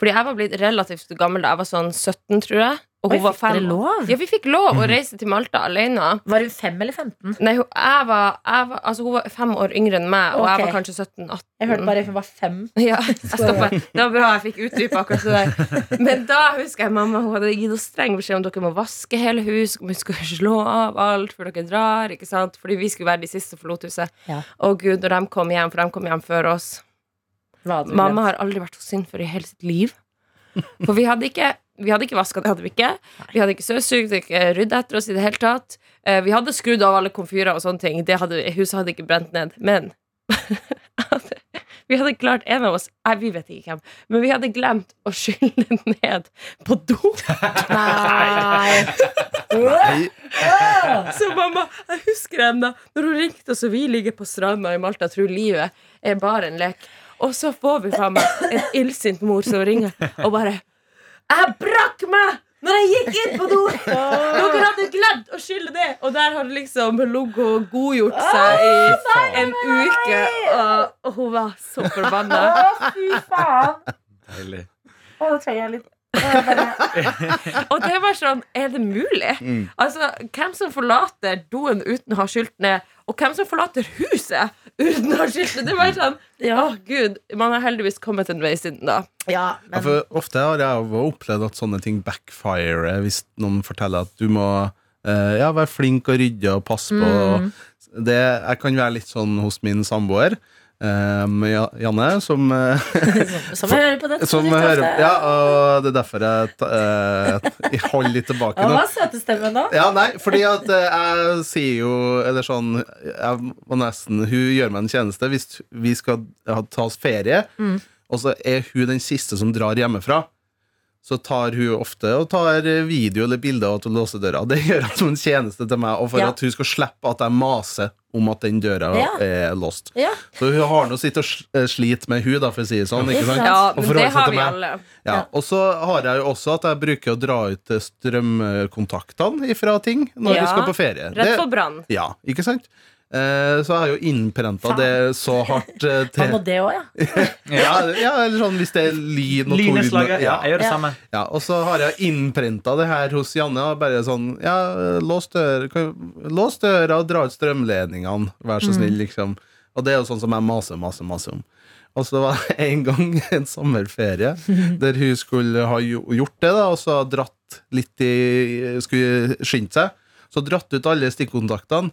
Speaker 3: Fordi jeg var blitt relativt gammel da jeg var sånn 17, tror jeg. Og
Speaker 2: Oi,
Speaker 3: hun var
Speaker 2: fikk dere
Speaker 3: fem.
Speaker 2: lov?
Speaker 3: Ja, vi fikk lov å reise til Malta alene.
Speaker 2: Var hun fem eller 15?
Speaker 3: Nei, hun, jeg var, jeg var, altså, hun var fem år yngre enn meg, og jeg
Speaker 2: Ok.
Speaker 3: var kanskje 17-18.
Speaker 2: Jeg hørte bare hun var fem.
Speaker 3: Ja, jeg stopper. Det var bra jeg fikk utdype akkurat det der. Men da husker jeg mamma hun hadde gitt oss streng beskjed om dere må vaske hele huset, dere skal slå av alt før dere drar. ikke sant? Fordi vi skulle være de siste som forlot huset.
Speaker 2: Ja.
Speaker 3: Å gud, når de kom hjem, for de kom hjem før oss.
Speaker 2: Hva hadde hun glemt?
Speaker 3: Mamma har aldri vært så sint for i hele sitt liv. For vi hadde ikke vi hadde ikke vaska, det hadde vi ikke. Vi hadde ikke støvsugd, ikke rydda etter oss i det hele tatt. Eh, Vi hadde skrudd av alle komfyrer og sånne ting. Det hadde, vi- huset hadde ikke brent ned. Men vi hadde klart en av oss Nei, vi vet ikke hvem. Men vi hadde glemt å skylle ned på do.
Speaker 5: Nei.
Speaker 3: Så mamma, jeg husker ennå når hun ringte oss, og vi ligger på stranda i Malta og tror livet er bare en lek. Og så får vi faen meg en illsint mor som ringer og bare Jeg brakk meg når jeg gikk inn på do! Dere hadde glemt å skylle det! Og der hadde liksom Logo godgjort seg i en uke, og, og hun var så forbanna.
Speaker 2: Å, fy faen!
Speaker 4: Deilig.
Speaker 2: Å, nå trenger jeg litt Å, bare-
Speaker 3: Og det var sånn, er det mulig?
Speaker 5: Mm.
Speaker 3: Altså, hvem som forlater doen uten å ha skylt ned, og hvem som forlater huset uten å ha skylt ned? Det var sånn,
Speaker 2: Ja.
Speaker 3: åh gud, man har heldigvis kommet en vei siden da.
Speaker 2: Ja,
Speaker 5: Ja,
Speaker 2: men
Speaker 5: for ofte har jeg jo opplevd at sånne ting backfirer eh, hvis noen forteller at du må eh, ja, være flink og rydde og passe på.
Speaker 2: Mm.
Speaker 5: Og det, jeg kan være litt sånn hos min samboer, eh, med Ja- Janne, som eh,
Speaker 2: Som jeg hører på dette
Speaker 5: Som
Speaker 2: podkastet.
Speaker 5: hører Ja, og det er derfor jeg, ta- eh, jeg holder litt tilbake
Speaker 2: Ja,
Speaker 5: nå.
Speaker 2: hva er søtestemmen nå?
Speaker 5: Ja, nei, fordi at eh, jeg sier jo Eller sånn jeg må nesten, Hun gjør meg en tjeneste hvis vi skal ha, ta oss ferie, og så er hun den siste som drar hjemmefra. Så tar hun ofte og tar eh, video eller bilder av at hun låser døra. Det gjør hun som en tjeneste til meg, og for
Speaker 2: Ja.
Speaker 5: at hun skal slippe at jeg maser om at den døra
Speaker 2: Ja.
Speaker 5: er låst.
Speaker 2: Ja.
Speaker 5: Så hun har nå sitt å sl- eh, slite med, hun, da, for å si det sånn. Ikke sant?
Speaker 3: Ja,
Speaker 5: Og
Speaker 3: men
Speaker 5: forholde
Speaker 3: det
Speaker 5: seg
Speaker 3: har
Speaker 5: til
Speaker 3: vi
Speaker 5: meg.
Speaker 3: alle.
Speaker 5: Ja, og så har jeg jo også at jeg bruker å dra ut eh, strømkontaktene ifra ting når
Speaker 3: Ja.
Speaker 5: vi skal på ferie.
Speaker 3: Rett
Speaker 5: Det-
Speaker 3: for brann.
Speaker 5: ja, ikke sant? Eh, Så jeg har jo innprenta
Speaker 2: Faen.
Speaker 5: det så hardt eh,
Speaker 2: Man må
Speaker 5: til
Speaker 2: det også, ja.
Speaker 5: ja, ja, eller sånn hvis det er lyn og torden. og-
Speaker 4: Lineslaget. Ja, jeg gjør det
Speaker 2: Ja.
Speaker 4: samme.
Speaker 5: ja, og så har jeg innprenta det her hos Janne. Og bare sånn Ja, lås døra, kan- lås døra og dra ut strømledningene, vær så snill, liksom. Og det er jo sånn som jeg maser, maser, maser om. Og så var det en gang en sommerferie der hun skulle ha jo- gjort det, da, og så dratt litt i Skulle skynde seg. Så dratt ut alle stikkontaktene.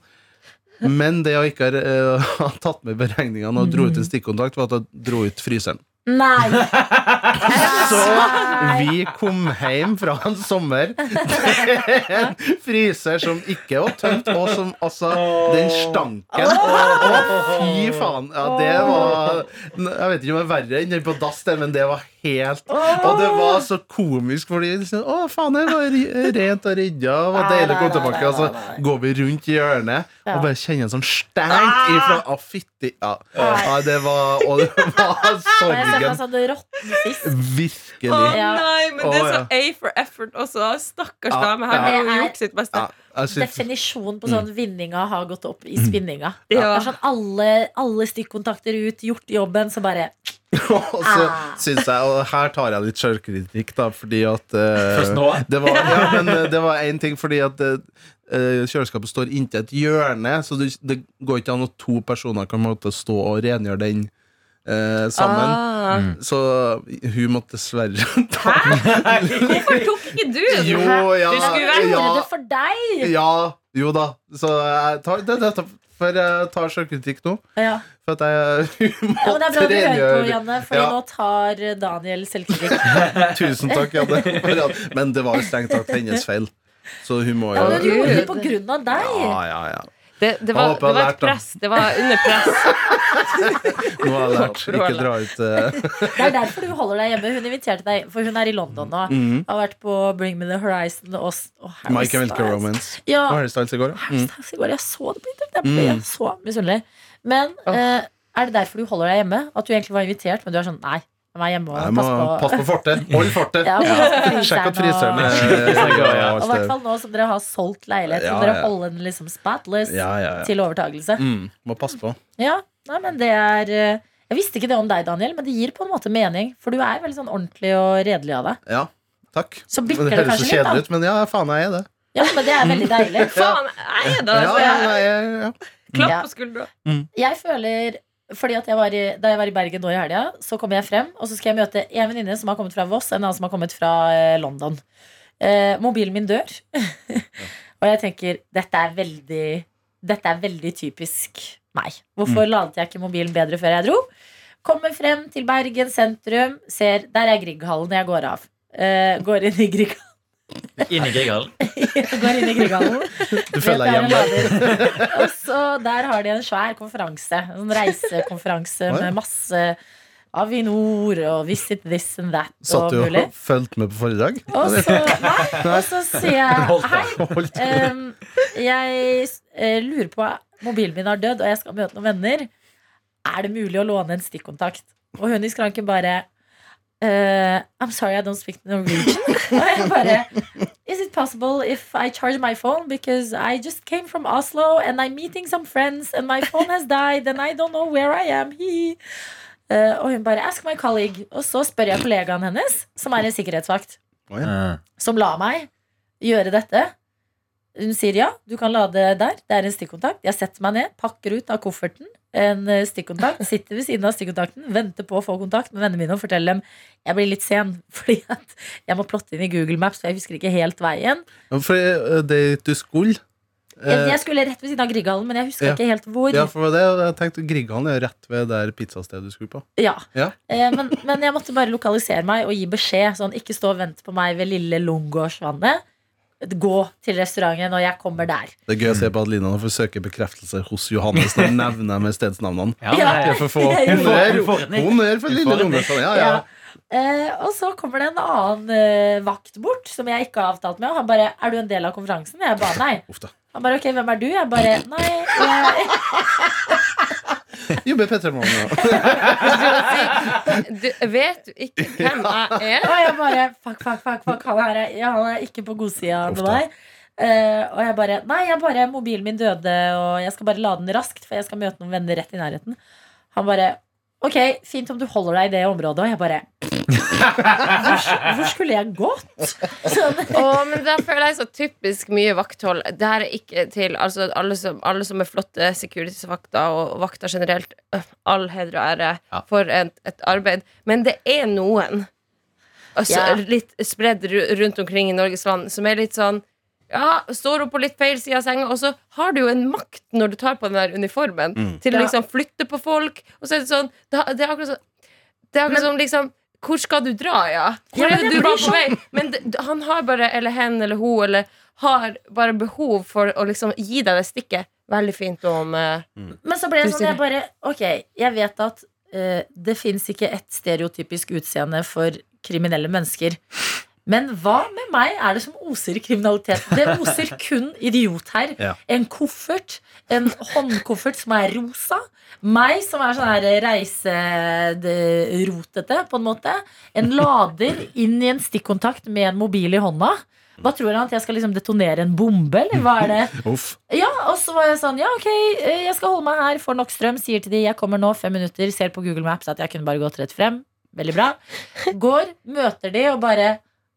Speaker 5: Men det jeg ikke har eh, har tatt med i beregningene og dro ut en stikkontakt, var at jeg dro ut fryseren.
Speaker 2: Nei.
Speaker 5: Så vi kom hjem fra en sommer til en fryser som ikke var tømt, og som altså Den stanken Å, fy faen! Ja, det var Jeg vet ikke om det er verre enn den på dass, det, men det var helt Og det var så komisk, fordi liksom, Å, faen, det var ri- rent og rydda, og det var deilig å komme tilbake. Og så går vi rundt i hjørnet og bare kjenner en
Speaker 2: Ah!
Speaker 5: sånn stenk ifra Å, fytti ja. ja, det var Og det var
Speaker 2: Og jeg ser for meg
Speaker 5: sorgen.
Speaker 2: sånn råtten fisk.
Speaker 3: Å
Speaker 5: Virkelig.
Speaker 2: Ja.
Speaker 3: nei, men det er så
Speaker 5: Å,
Speaker 3: A for effort også. Stakkars
Speaker 5: Ja,
Speaker 3: dame, her
Speaker 5: ja.
Speaker 3: har
Speaker 2: Det
Speaker 3: hun
Speaker 2: er-
Speaker 3: gjort sitt beste.
Speaker 5: Ja, jeg synes,
Speaker 2: Definisjon på sånn vinninga har gått opp i spinninga. Det
Speaker 3: Ja.
Speaker 2: er sånn alle, alle stikkontakter ut, gjort jobben, så bare
Speaker 5: og så
Speaker 2: Ah.
Speaker 5: synes jeg, og her tar jeg litt sjølkritikk, da, fordi at eh,
Speaker 4: Først nå?
Speaker 5: Det var, ja, men eh, det var én ting, fordi at eh, eh, kjøleskapet står inntil et hjørne, så det, det går ikke an at to personer kan på en måte stå og rengjøre den eh, sammen.
Speaker 3: Ah.
Speaker 5: Mm. Så hun måtte dessverre ta
Speaker 3: Hæ? Hvorfor tok ikke du den?
Speaker 5: Jo, ja,
Speaker 3: Du skulle
Speaker 2: Jeg
Speaker 3: vært
Speaker 5: ja.
Speaker 2: gjorde det for deg!
Speaker 5: Ja, jo da. Så jeg tar, det, det, for jeg tar sjølkritikk nå.
Speaker 2: Ja.
Speaker 5: For at jeg
Speaker 2: Ja, men det er bra du hører på,
Speaker 5: rengjøre.
Speaker 2: Janne, for
Speaker 5: Ja.
Speaker 2: nå tar Daniel selvkritikk.
Speaker 5: Tusen takk, Janne. Men det var jo strengt tatt hennes feil. Så hun må
Speaker 2: Ja,
Speaker 5: jo
Speaker 2: men du gjorde det på grunn av deg!
Speaker 5: Ja, ja, ja.
Speaker 3: Det, det,
Speaker 5: Jeg
Speaker 3: var, det
Speaker 5: håper jeg
Speaker 3: var
Speaker 5: har
Speaker 3: et
Speaker 5: lært, da.
Speaker 3: press. Det var under press.
Speaker 5: Nå har jeg lært. Ikke dra ut eh,
Speaker 2: Det er derfor du holder deg hjemme. Hun inviterte deg, for hun er i London nå.
Speaker 5: Mhm.
Speaker 2: Har vært på Bring Me The Horizon og, s- og Harry
Speaker 5: Michael Wilker
Speaker 2: Styles.
Speaker 5: Romance.
Speaker 2: Ja,
Speaker 5: Harry Styles i går, ja.
Speaker 2: Harry
Speaker 5: Mm.
Speaker 2: Styles i går. Jeg så det på internett. Jeg ble
Speaker 5: Mm.
Speaker 2: så misunnelig. Men
Speaker 3: Åh.
Speaker 2: eh, er det derfor du holder deg hjemme? At du egentlig var invitert, men du er sånn nei, jeg må være hjemme
Speaker 5: Jeg
Speaker 2: og
Speaker 5: må
Speaker 2: passe på.
Speaker 5: passe på fortet. Hold fortet!
Speaker 2: Ja,
Speaker 5: Sjekk at fryseren Eh,
Speaker 2: og-
Speaker 5: er
Speaker 4: Ja,
Speaker 2: Og i hvert fall nå som dere har solgt leilighet,
Speaker 5: Ja,
Speaker 2: så dere
Speaker 5: ja.
Speaker 2: holder den liksom spotless
Speaker 5: Ja, ja, ja.
Speaker 2: til overtagelse.
Speaker 5: Mm. Må passe på.
Speaker 2: Ja, nei, men det er eh, Jeg visste ikke det om deg, Daniel, men det gir på en måte mening. For du er veldig sånn ordentlig og redelig av deg.
Speaker 5: Ja. Takk.
Speaker 2: Så
Speaker 5: Det
Speaker 2: bikker det
Speaker 5: høres så
Speaker 2: kanskje litt,
Speaker 5: kjedelig
Speaker 2: da.
Speaker 5: ut, men ja, faen, jeg er det.
Speaker 2: Ja, men det er veldig deilig.
Speaker 3: Faen, jeg er da
Speaker 5: Ja,
Speaker 3: altså,
Speaker 5: ja,
Speaker 3: jeg-
Speaker 5: ja, ja, ja.
Speaker 3: Klapp
Speaker 2: Ja.
Speaker 3: på skuldra.
Speaker 2: Jeg føler fordi at jeg var i, Da jeg var i Bergen nå i helga, så kom jeg frem, og så skal jeg møte en venninne som har kommet fra Voss, en annen som har kommet fra eh, London. Eh, mobilen min dør. og jeg tenker dette er veldig Dette er veldig typisk meg. Hvorfor ladet jeg ikke mobilen bedre før jeg dro? Kommer frem til Bergen sentrum, ser Der er Grieghallen jeg går av. Eh, går inn i Grieghallen.
Speaker 4: Inn i Grieghallen.
Speaker 2: går inn i Grieghallen.
Speaker 5: Du føler deg
Speaker 2: Vet
Speaker 5: hjemme.
Speaker 2: jeg hva jeg lader. Og så der har de en svær konferanse. En sånn reisekonferanse
Speaker 5: Oi.
Speaker 2: med masse Avinor og Visit this and that
Speaker 5: Satt
Speaker 2: og
Speaker 5: du
Speaker 2: mulig.
Speaker 5: og fulgte med på foredrag?
Speaker 2: Og så, nei, og så sier jeg
Speaker 4: Holdt da.
Speaker 2: hei. em, jeg eh, lurer på Mobilen min har dødd, og jeg skal møte noen venner. Er det mulig å låne en stikkontakt? Og hun i skranken bare eh, I'm sorry, I don't speak Norwegian. og jeg bare Is it possible if I charge my phone? Because I just came from Oslo and I'm meeting some friends and my phone has died and I don't know where I am. He. Eh, og hun bare Ask my colleague. Og så spør jeg kollegaen hennes, som er en sikkerhetsvakt, som la meg gjøre dette. Hun sier ja, du kan lade der. Det er en stikkontakt. Jeg setter meg ned, pakker ut av kofferten en eh, stikkontakt, sitter ved siden av stikkontakten, venter på å få kontakt med vennene mine og forteller dem jeg blir litt sen, fordi at jeg må plotte inn i Google Maps, for jeg husker ikke helt veien.
Speaker 5: Ja, For eh, det du skulle
Speaker 2: Jeg,
Speaker 5: eh,
Speaker 2: jeg skulle rett ved siden av Grieghallen, men jeg huska
Speaker 5: ja.
Speaker 2: ikke helt hvor.
Speaker 5: Ja,
Speaker 2: Ja.
Speaker 5: for det, jeg tenkte Grieghallen er jo rett ved der pizzastedet du skulle på. Ja.
Speaker 2: Eh, men, men jeg måtte bare lokalisere meg og gi beskjed. Sånn, ikke stå og vent på meg ved lille Lungårdsvannet. Gå til restauranten når jeg kommer der.
Speaker 5: Det er gøy å se på Adelina når hun søker bekreftelse hos Johannes. Når hun nevner med stedsnavnene.
Speaker 4: Ja,
Speaker 2: Ja.
Speaker 4: det
Speaker 5: Jeg
Speaker 4: er-
Speaker 5: får få
Speaker 2: Jeg
Speaker 5: honnør
Speaker 4: får- får-
Speaker 5: honnør for lille
Speaker 4: får-
Speaker 5: Lomnesand. Ja, ja.
Speaker 2: Eh, og så kommer det en annen eh, vakt bort, som jeg ikke har avtalt med. Og han bare 'Er du en del av konferansen?' Jeg bare 'Nei'.
Speaker 5: Uff da.
Speaker 2: Han bare 'Ok, hvem er du?' Jeg bare 'Nei, jeg,
Speaker 5: Jobber Petter Morgen.
Speaker 3: Du, vet du ikke hvem jeg er?
Speaker 2: Og jeg bare Fuck, fuck, fuck, fuck han, her er, ja, han er ikke på godsida med
Speaker 5: Uff da.
Speaker 2: meg. Eh, og jeg bare Nei, jeg bare mobilen min døde, og jeg skal bare lade den raskt, for jeg skal møte noen venner rett i nærheten. Han bare Ok, fint om du holder deg i det området. Og jeg bare Hvor, hvor skulle jeg gått? Sånn.
Speaker 3: Å, men der føler jeg så typisk mye vakthold. Det her er ikke til altså, alle, som, alle som er flotte securities-vakter og vakter generelt. øh, All heder og ære
Speaker 4: Ja.
Speaker 3: for et, et arbeid. Men det er noen altså,
Speaker 2: Ja.
Speaker 3: litt spredd ru- rundt omkring i Norges land som er litt sånn ja, står opp på litt feil side av senga, og så har du jo en makt når du tar på den der uniformen, til å
Speaker 2: Ja.
Speaker 3: liksom flytte på folk. Og så er det sånn Det, det er akkurat sånn Det er akkurat som liksom Hvor skal du dra, ja? Hvor
Speaker 2: Ja, men
Speaker 3: er det
Speaker 2: jeg
Speaker 3: du var
Speaker 2: blir
Speaker 3: på vei? Men det, det- han har bare, eller hen eller hun, eller har bare behov for å liksom gi deg det stikket. Veldig fint om eh,
Speaker 2: Men så ble jeg
Speaker 3: Du
Speaker 2: sånn,
Speaker 3: sier
Speaker 2: jeg bare Ok, jeg vet at eh, det fins ikke ett stereotypisk utseende for kriminelle mennesker. Men hva med meg er det som oser kriminalitet? Det oser kun idiot her.
Speaker 5: Ja.
Speaker 2: En koffert. En håndkoffert som er rosa. Meg som er sånn her reiserotete, på en måte. En lader inn i en stikkontakt med en mobil i hånda. Hva tror han at jeg skal liksom detonere en bombe, eller hva er det?
Speaker 5: Uff.
Speaker 2: Ja, og så var jeg sånn, ja ok, eh, jeg skal holde meg her for nok strøm Sier til de, jeg kommer nå fem minutter Ser på Google Maps at jeg kunne bare gått rett frem Veldig bra Går, møter de og bare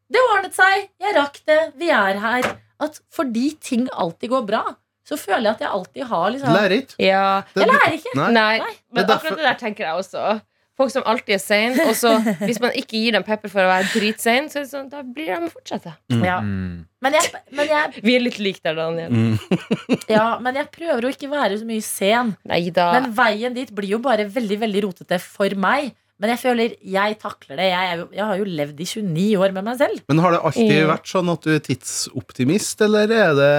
Speaker 2: Det ordnet seg, jeg rakk det, vi er her At fordi ting alltid går bra Så føler jeg at jeg alltid har liksom
Speaker 5: Lærer ikke.
Speaker 3: Ja.
Speaker 5: Det-
Speaker 2: Jeg lærer ikke
Speaker 5: Nei.
Speaker 3: Nei.
Speaker 2: Nei.
Speaker 3: Men
Speaker 5: Det er derfor-
Speaker 3: akkurat det der tenker jeg også. Folk som alltid er sein, og så hvis man ikke gir dem pepper for å være dritsein, så er det sånn, da blir de fortsette.
Speaker 2: Ja.
Speaker 4: Mm.
Speaker 2: Men, jeg, men, jeg,
Speaker 3: Vi er litt like der, Daniel.
Speaker 5: Mm.
Speaker 2: ja, men jeg prøver å ikke være så mye sen.
Speaker 3: Nei da.
Speaker 2: Men veien dit blir jo bare veldig veldig rotete for meg. Men jeg føler jeg takler det. Jeg, er jo, jeg har jo levd i 29 år med meg selv.
Speaker 5: Men har det alltid
Speaker 3: Ja.
Speaker 5: vært sånn at du er tidsoptimist, eller er det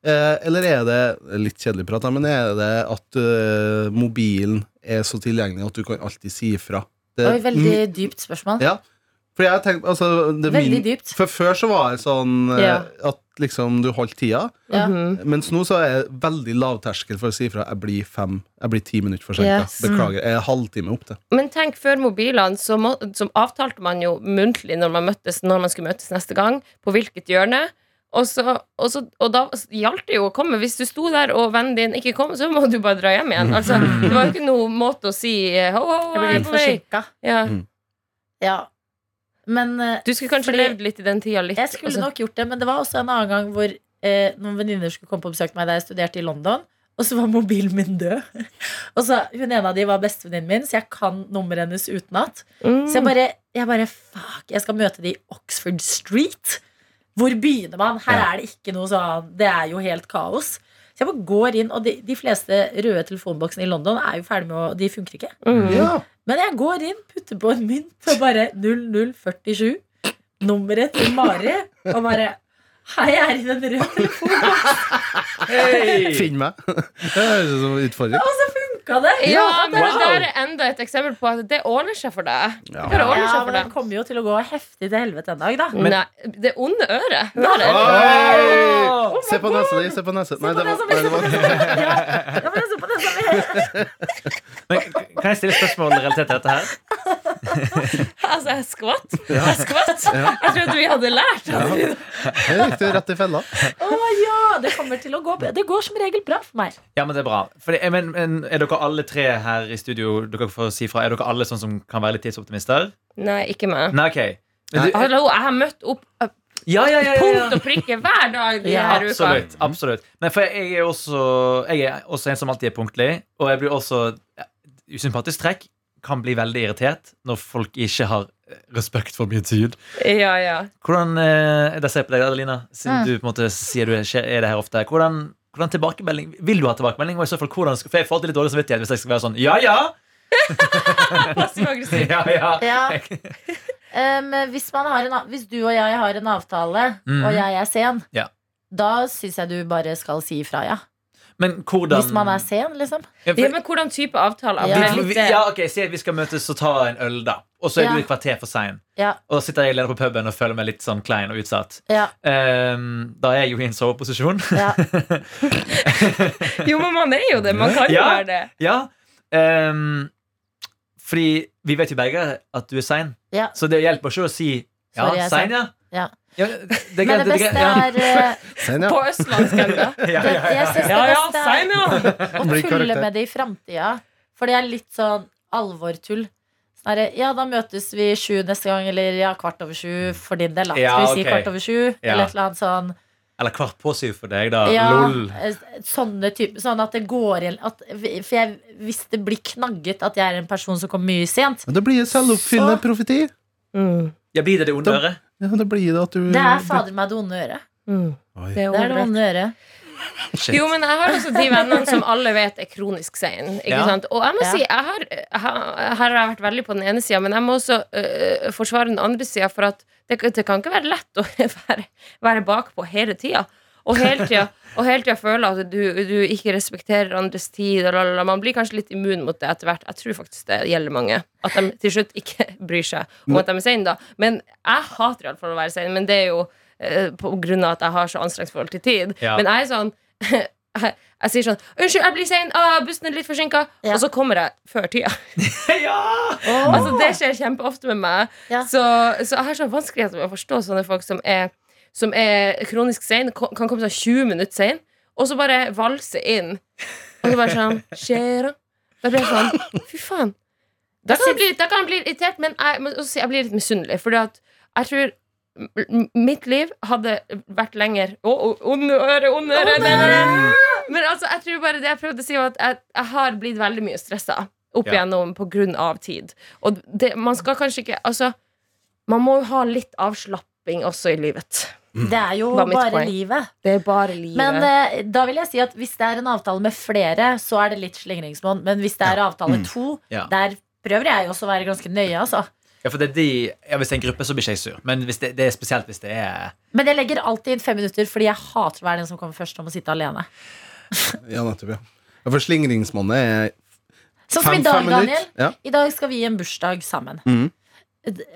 Speaker 5: eh, Eller er det Litt kjedelig prat, da, men er det at eh, mobilen er så tilgjengelig at du kan alltid si ifra? Det- Mm.
Speaker 2: Oi, veldig dypt spørsmål.
Speaker 5: Ja. For jeg tenker, altså, det er
Speaker 2: Veldig
Speaker 5: min-
Speaker 2: dypt.
Speaker 5: For før så var det sånn eh,
Speaker 3: Ja.
Speaker 5: at liksom du holdt tida,
Speaker 2: Ja.
Speaker 3: Mhm.
Speaker 5: mens nå så er jeg veldig lavterskel for å si ifra. Jeg blir fem, jeg blir ti minutter forsinka.
Speaker 3: Yes.
Speaker 5: Beklager. Jeg er halvtime opp til.
Speaker 3: Men tenk, før mobilene, så, må, så avtalte man jo muntlig når man, møttes, når man skulle møtes neste gang, på hvilket hjørne. Og, så, og, så, og da gjaldt det jo å komme. Hvis du sto der og vennen din ikke kom, så må du bare dra hjem igjen. Altså, det var jo ikke noen måte å si eh, ho, ho,
Speaker 2: Jeg
Speaker 3: ho,
Speaker 2: blir
Speaker 3: jeg er
Speaker 2: litt
Speaker 3: på vei.
Speaker 2: forsinka.
Speaker 3: Ja.
Speaker 2: Ja. Men eh,
Speaker 3: Du skulle kanskje
Speaker 2: Fordi-
Speaker 3: levd litt i den tida. Litt,
Speaker 2: jeg skulle
Speaker 3: altså.
Speaker 2: nok gjort det. Men det var også en annen gang hvor eh, noen venninner skulle komme på besøk til meg da jeg studerte i London. Og så var mobilen min død. Og så, Hun ene av de var bestevenninnen min, så jeg kan nummeret hennes utenat.
Speaker 3: Mm.
Speaker 2: Så jeg bare, jeg bare Fuck, jeg skal møte de i Oxford Street. Hvor begynner man? Her
Speaker 5: Ja.
Speaker 2: er det ikke noe sånn Det er jo helt kaos. Så jeg bare går inn, og de, de fleste røde telefonboksene i London er jo ferdig med å De funker ikke.
Speaker 3: Mm.
Speaker 5: Ja.
Speaker 2: Men jeg går inn, putter på en mynt og bare 0047. Nummeret til Mari. Og bare Hei, jeg er i den røde telefonen.
Speaker 4: Hey!
Speaker 5: Finn meg. Det høres ut som en utfordring.
Speaker 2: Og så funka det!
Speaker 3: Ja,
Speaker 2: det
Speaker 3: men
Speaker 2: er
Speaker 3: det der er enda et eksempel på at det ordner seg for deg. Det
Speaker 5: Ja.
Speaker 3: bare ordner
Speaker 2: Ja,
Speaker 3: seg for
Speaker 2: men det
Speaker 3: deg.
Speaker 2: kommer jo til å gå heftig til helvete en dag, da.
Speaker 3: Nei, det onde øret. Hører.
Speaker 5: Oi! Se på nesa di, se på nesa. Nei,
Speaker 2: Oh Se på
Speaker 5: det
Speaker 2: den
Speaker 5: var,
Speaker 2: som vil,
Speaker 5: nei, det
Speaker 2: se på den som
Speaker 5: var
Speaker 2: vil. Ja, altså, ja, men se på den som vil.
Speaker 4: Men, kan jeg stille spørsmål relatert til dette her?
Speaker 3: Altså, jeg skvatt. Jeg skvatt. Jeg trodde vi hadde lært.
Speaker 5: ja. Det gikk du rett i fella.
Speaker 2: Å ja! Det kommer til å gå bra. Det går som regel bra for meg.
Speaker 4: Ja, men det er bra. Fordi, eh, men, men, er dere alle tre her i studio Dere får si fra, Er dere alle sånn som kan være litt tidsoptimister?
Speaker 3: Nei, ikke meg.
Speaker 4: Nei, ok Men du-
Speaker 3: Hallo, jeg har møtt opp eh,
Speaker 4: ja, ja, ja, ja, ja. mm.
Speaker 3: punkt og prikke hver dag de
Speaker 2: Ja,
Speaker 3: her uka.
Speaker 4: Absolutt. absolutt Nei, for jeg er, også, jeg er også en som alltid er punktlig. Og jeg blir også eh, Usympatisk trekk kan bli veldig irritert når folk ikke har eh, respekt for min tid.
Speaker 3: Ja, ja.
Speaker 4: Hvordan, eh, da ser jeg på deg, Adelina, siden
Speaker 2: Mm.
Speaker 4: du på en måte sier du er skje- er det her ofte. Hvordan, hvordan tilbakemelding Vil du ha tilbakemelding? Og i så fall, hvordan, skal- for jeg får alltid litt dårlig samvittighet hvis jeg skal være sånn ja, ja!
Speaker 3: Passiv aggressiv.
Speaker 4: ja, ja.
Speaker 2: Ja. Em, hvis, man har en, av- hvis du og jeg har en avtale,
Speaker 4: Mhm.
Speaker 2: og jeg er sen,
Speaker 4: Ja.
Speaker 2: da syns jeg du bare skal si ifra, ja.
Speaker 4: Men hvordan
Speaker 2: Hvis man er sen, liksom.
Speaker 4: Ja, for-
Speaker 3: Ja, men hvordan type
Speaker 2: Ja.
Speaker 3: avtaler? Det er
Speaker 4: Vi-
Speaker 3: litt,
Speaker 4: vi-
Speaker 3: eh,
Speaker 4: Ja, ok, Si at vi skal møtes og ta en øl, da. Og så er
Speaker 2: Ja.
Speaker 4: du et kvarter for sein.
Speaker 2: Ja,
Speaker 4: Og da sitter jeg alene på puben og føler meg litt sånn klein og utsatt.
Speaker 2: ja,
Speaker 4: Ehm, da er jeg jo i en soveposisjon.
Speaker 2: ja.
Speaker 3: Jo, men man er jo det. Man kan jo
Speaker 4: Ja.
Speaker 3: være det.
Speaker 4: ja. ehm, fordi vi vet jo begge at du er sein,
Speaker 2: Ja.
Speaker 4: så det hjelper ikke å si
Speaker 2: Sorry, jeg
Speaker 4: ja,
Speaker 2: er
Speaker 4: sein, ja.
Speaker 2: Ja.
Speaker 4: Ja, det er
Speaker 2: Men det
Speaker 4: greit. det er
Speaker 2: beste
Speaker 4: greit, ja.
Speaker 2: er eh,
Speaker 5: Sen, Sånn, ja.
Speaker 3: På østlandsk enda.
Speaker 4: Ja,
Speaker 2: det,
Speaker 4: ja, ja,
Speaker 2: Jeg
Speaker 4: ja.
Speaker 2: syns det
Speaker 3: Ja, ja,
Speaker 2: beste
Speaker 3: si
Speaker 2: er
Speaker 3: noe!
Speaker 2: eh, å
Speaker 5: Blir
Speaker 2: tulle
Speaker 5: karakter.
Speaker 2: med det i framtida. For det er litt sånn alvortull. Sånn herre, ja, da møtes vi sju neste gang, eller ja, kvart over sju for din del. Da.
Speaker 4: Ja,
Speaker 2: Skal vi si
Speaker 4: ok.
Speaker 2: kvart over sju?
Speaker 4: Ja.
Speaker 2: Eller et eller annet sånn.
Speaker 4: Eller kvart på syv for deg, da.
Speaker 2: Ja,
Speaker 4: Lol.
Speaker 2: eh, Sånne type, sånn at det går igjen at, For jeg, hvis det blir knagget at jeg er en person som kommer mye sent
Speaker 5: Men Da blir det selvoppfyllende
Speaker 2: Så-
Speaker 5: profeti.
Speaker 3: Mm.
Speaker 4: Ja, blir det det onde
Speaker 5: Da-
Speaker 4: øret?
Speaker 5: Ja, da blir det at du
Speaker 2: Det
Speaker 4: Mm,
Speaker 2: er fader meg det onde øret.
Speaker 3: Mm.
Speaker 5: Oi.
Speaker 3: Det er
Speaker 2: Det er det
Speaker 3: ordrett.
Speaker 2: onde øret.
Speaker 4: Shit.
Speaker 3: Jo, men jeg har også de vennene som alle vet er kronisk sein. Ikke
Speaker 4: Ja.
Speaker 3: sant? Og jeg må
Speaker 2: Ja.
Speaker 3: si, jeg har, her har jeg vært veldig på den ene sida, men jeg må også øh, forsvare den andre sida, for at det, det kan ikke være lett å være, være bakpå hele tida. Og hele tida, og hele tida føle at du, du ikke respekterer andres tid. Og lalala. Man blir kanskje litt immun mot det etter hvert. Jeg tror faktisk det gjelder mange. At de til slutt ikke bryr seg om at de er seine, da. Men jeg hater iallfall å være sein. Men det er jo eh, på grunn av at jeg har så anstrengt forhold til tid.
Speaker 4: Ja.
Speaker 3: Men jeg er sånn jeg, jeg sier sånn 'Unnskyld, jeg blir sein. Ah, bussen er litt forsinka.'
Speaker 2: Ja.
Speaker 3: Og så kommer jeg før tida.
Speaker 4: ja!
Speaker 3: Altså, det skjer kjempeofte med meg.
Speaker 2: Ja.
Speaker 3: Så, så jeg har sånn vanskeligheter med å forstå sånne folk som er, som er kronisk sein, ko- kan komme sånn 20 minutter sein, og så bare valse inn. Og så bare sånn Skjer'a? Da blir jeg sånn Fy faen. Da kan jeg bli, da kan jeg bli irritert, men jeg, men også, jeg blir litt misunnelig. Fordi at jeg tror m- mitt liv hadde vært lenger Å, å, onde øre, onde øre! det- Men altså, jeg tror bare det jeg prøvde å si, var at jeg, jeg har blitt veldig mye stressa. opp
Speaker 4: Ja.
Speaker 3: igjennom på grunn av tid. Og det, man skal kanskje ikke Altså, man må jo ha litt avslapping også i livet.
Speaker 2: Det er jo
Speaker 3: Var mitt
Speaker 2: bare
Speaker 3: poeng.
Speaker 2: livet.
Speaker 3: Det er bare livet.
Speaker 2: Men eh, da vil jeg si at hvis det er en avtale med flere, så er det litt slingringsmonn. Men hvis det er avtale
Speaker 5: Mm.
Speaker 2: to,
Speaker 4: Ja.
Speaker 2: der prøver jeg også å være ganske nøye, altså.
Speaker 4: Ja, for det er de, ja, Hvis det er en gruppe, så blir ikke jeg sur. Men hvis det, det er spesielt hvis det er
Speaker 2: Men jeg legger alltid inn fem minutter, fordi jeg hater å være den som kommer først om å sitte alene.
Speaker 5: Ja, nettopp, ja. ja for slingringsmonnet er
Speaker 2: Sånn som
Speaker 5: fem,
Speaker 2: i dag,
Speaker 5: fem
Speaker 2: Daniel.
Speaker 5: minutter. Ja.
Speaker 2: I dag skal vi i en bursdag sammen.
Speaker 5: Mhm.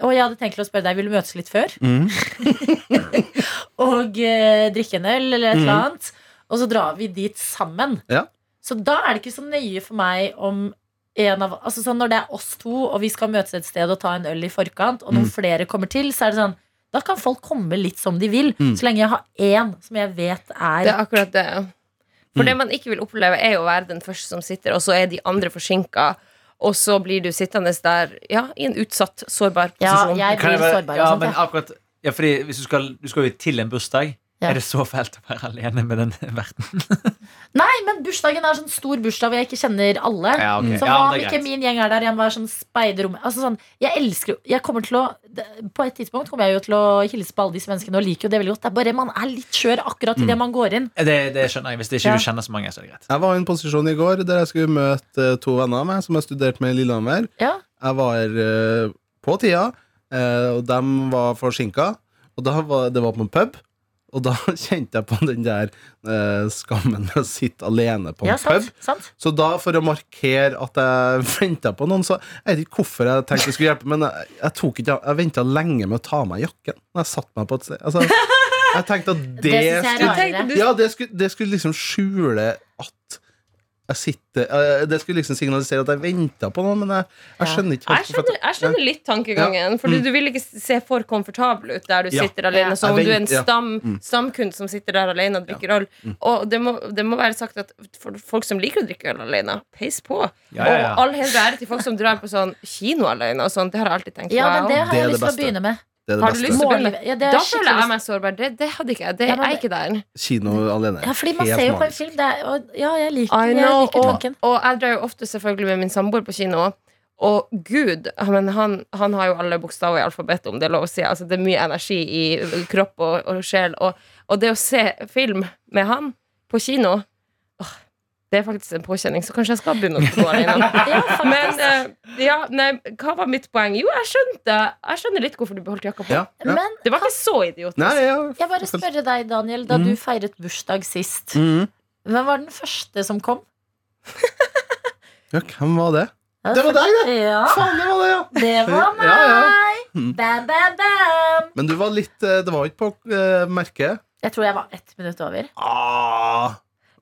Speaker 2: Og jeg hadde tenkt til å spørre deg, vil du møtes litt før?
Speaker 5: Mhm.
Speaker 2: og eh, drikke en øl eller et eller annet. Og så drar vi dit sammen.
Speaker 5: Ja.
Speaker 2: Så da er det ikke så nøye for meg om en av, altså sånn Når det er oss to, og vi skal møtes et sted og ta en øl i forkant, og noen flere kommer til, så er det sånn da kan folk komme litt som de vil, så lenge jeg har én som jeg vet er,
Speaker 3: Det er akkurat det. For det man ikke vil oppleve, er jo å være den første som sitter, og så er de andre forsinka. Og så blir du sittende der ja, i en utsatt, sårbar
Speaker 2: Ja,
Speaker 3: posisjon.
Speaker 2: jeg
Speaker 4: Kan jeg
Speaker 2: blir
Speaker 4: bare-
Speaker 2: sårbar og
Speaker 4: ja,
Speaker 2: sånt.
Speaker 4: men
Speaker 2: ja.
Speaker 4: akkurat, ja, fordi hvis du skal, du skal jo til en bursdag.
Speaker 2: Ja.
Speaker 4: Er det så fælt å være alene med den verten?
Speaker 2: Nei, men bursdagen er sånn stor bursdag hvor jeg ikke kjenner alle.
Speaker 4: Ja, ok.
Speaker 2: Så
Speaker 4: Ja,
Speaker 2: hva
Speaker 4: men
Speaker 2: om
Speaker 4: det er
Speaker 2: ikke
Speaker 4: greit.
Speaker 2: min gjeng er der? Jeg må være sånn speiderrom. Altså sånn, jeg elsker jo Jeg kommer til å det- På et tidspunkt kommer jeg jo til å hilse på alle disse menneskene og liker jo det veldig godt. Det er bare man er litt skjør akkurat
Speaker 5: Mm.
Speaker 2: idet man går inn.
Speaker 4: Det, det skjønner jeg. Hvis det ikke
Speaker 2: Ja.
Speaker 4: du kjenner så mange, så er det greit.
Speaker 5: Jeg var i en posisjon i går der jeg skulle møte eh, to venner av meg som har studert med i Lillehammer.
Speaker 2: Ja.
Speaker 5: Jeg var eh, på tida, eh, og de var forsinka. Og da var, det var på en pub, og da kjente jeg på den der eh, skammen med å sitte alene på en
Speaker 2: Ja,
Speaker 5: pub.
Speaker 2: sant, sant?
Speaker 5: Så da, for å markere at jeg venta på noen, så Jeg vet ikke hvorfor jeg tenkte jeg skulle hjelpe, men jeg, jeg, tok ikke, jeg venta lenge med å ta av meg jakken. Når jeg satt meg på et sted altså, Jeg tenkte at det,
Speaker 2: Det syns jeg er
Speaker 5: skulle
Speaker 3: Du tenkte
Speaker 2: rarere.
Speaker 3: du-
Speaker 5: Ja, det skulle, det skulle liksom skjule at jeg sitter eh, Det skulle liksom signalisere at jeg venta på noen, men jeg, jeg
Speaker 2: Ja.
Speaker 5: skjønner ikke
Speaker 3: Jeg
Speaker 5: helt hvorfor
Speaker 3: skjønner, jeg skjønner litt tankegangen, Fordi du vil ikke se for komfortabel ut der du
Speaker 5: Mm. Ja.
Speaker 3: sitter alene.
Speaker 2: Ja.
Speaker 3: Som om
Speaker 5: Jeg
Speaker 3: du er en
Speaker 5: venter, ja. Mm.
Speaker 3: stam, stamkund som sitter der alene og drikker øl. Og det må, det må være sagt at for folk som liker å drikke øl alene, peis på.
Speaker 4: Ja, ja, ja.
Speaker 3: Og all heder og ære til folk som drar på sånn kino alene og sånn. Det har jeg alltid tenkt
Speaker 2: Ja,
Speaker 3: på.
Speaker 2: men det
Speaker 3: jeg også.
Speaker 2: har
Speaker 5: Det er
Speaker 2: jeg
Speaker 5: det
Speaker 2: lyst til å
Speaker 5: beste.
Speaker 2: begynne med.
Speaker 5: det er det
Speaker 3: Har du
Speaker 5: beste.
Speaker 3: lyst til å begynne?
Speaker 2: Mållivet. Ja, det er
Speaker 3: Da
Speaker 2: skikkelig
Speaker 3: føler jeg
Speaker 2: lyst-
Speaker 3: meg sårbar. Det, det hadde ikke jeg. Det,
Speaker 2: Ja, men
Speaker 3: jeg er ikke der.
Speaker 5: Kino alene.
Speaker 2: Ja, fordi man
Speaker 5: Helt
Speaker 2: ser jo på en
Speaker 5: magisk.
Speaker 2: film. Det er, og, ja, jeg liker,
Speaker 3: I
Speaker 2: jeg
Speaker 3: know,
Speaker 2: liker
Speaker 3: og,
Speaker 2: tanken.
Speaker 3: og jeg drar jo ofte selvfølgelig med min samboer på kino. Og Gud, ja, men han, han har jo alle bokstaver i alfabetet, om det er lov å si. Altså, det er mye energi i kropp og, og sjel. Og, og det å se film med han på kino åh, Det er faktisk en påkjenning, så kanskje jeg skal begynne å gå alene.
Speaker 2: Ja, faktisk.
Speaker 3: Men eh, ja, nei, hva var mitt poeng? Jo, jeg skjønte Jeg skjønner litt hvorfor du beholdt jakka på.
Speaker 5: Ja, ja.
Speaker 2: Men
Speaker 3: Det var ikke så idiotisk.
Speaker 5: Nei, ja.
Speaker 2: jeg bare spørre deg, Daniel, da
Speaker 5: Mm.
Speaker 2: du feiret bursdag sist,
Speaker 5: Mhm.
Speaker 2: hvem var den første som kom?
Speaker 5: ja, hvem var det? Det var deg, det!
Speaker 2: Ja,
Speaker 5: Faen, det var det, ja!
Speaker 2: det var meg!
Speaker 5: Ja, ja.
Speaker 2: Bam, bam, bam!
Speaker 5: Men du var litt eh, Det var ikke på eh, merket.
Speaker 2: Jeg tror jeg var ett minutt over.
Speaker 5: Ah,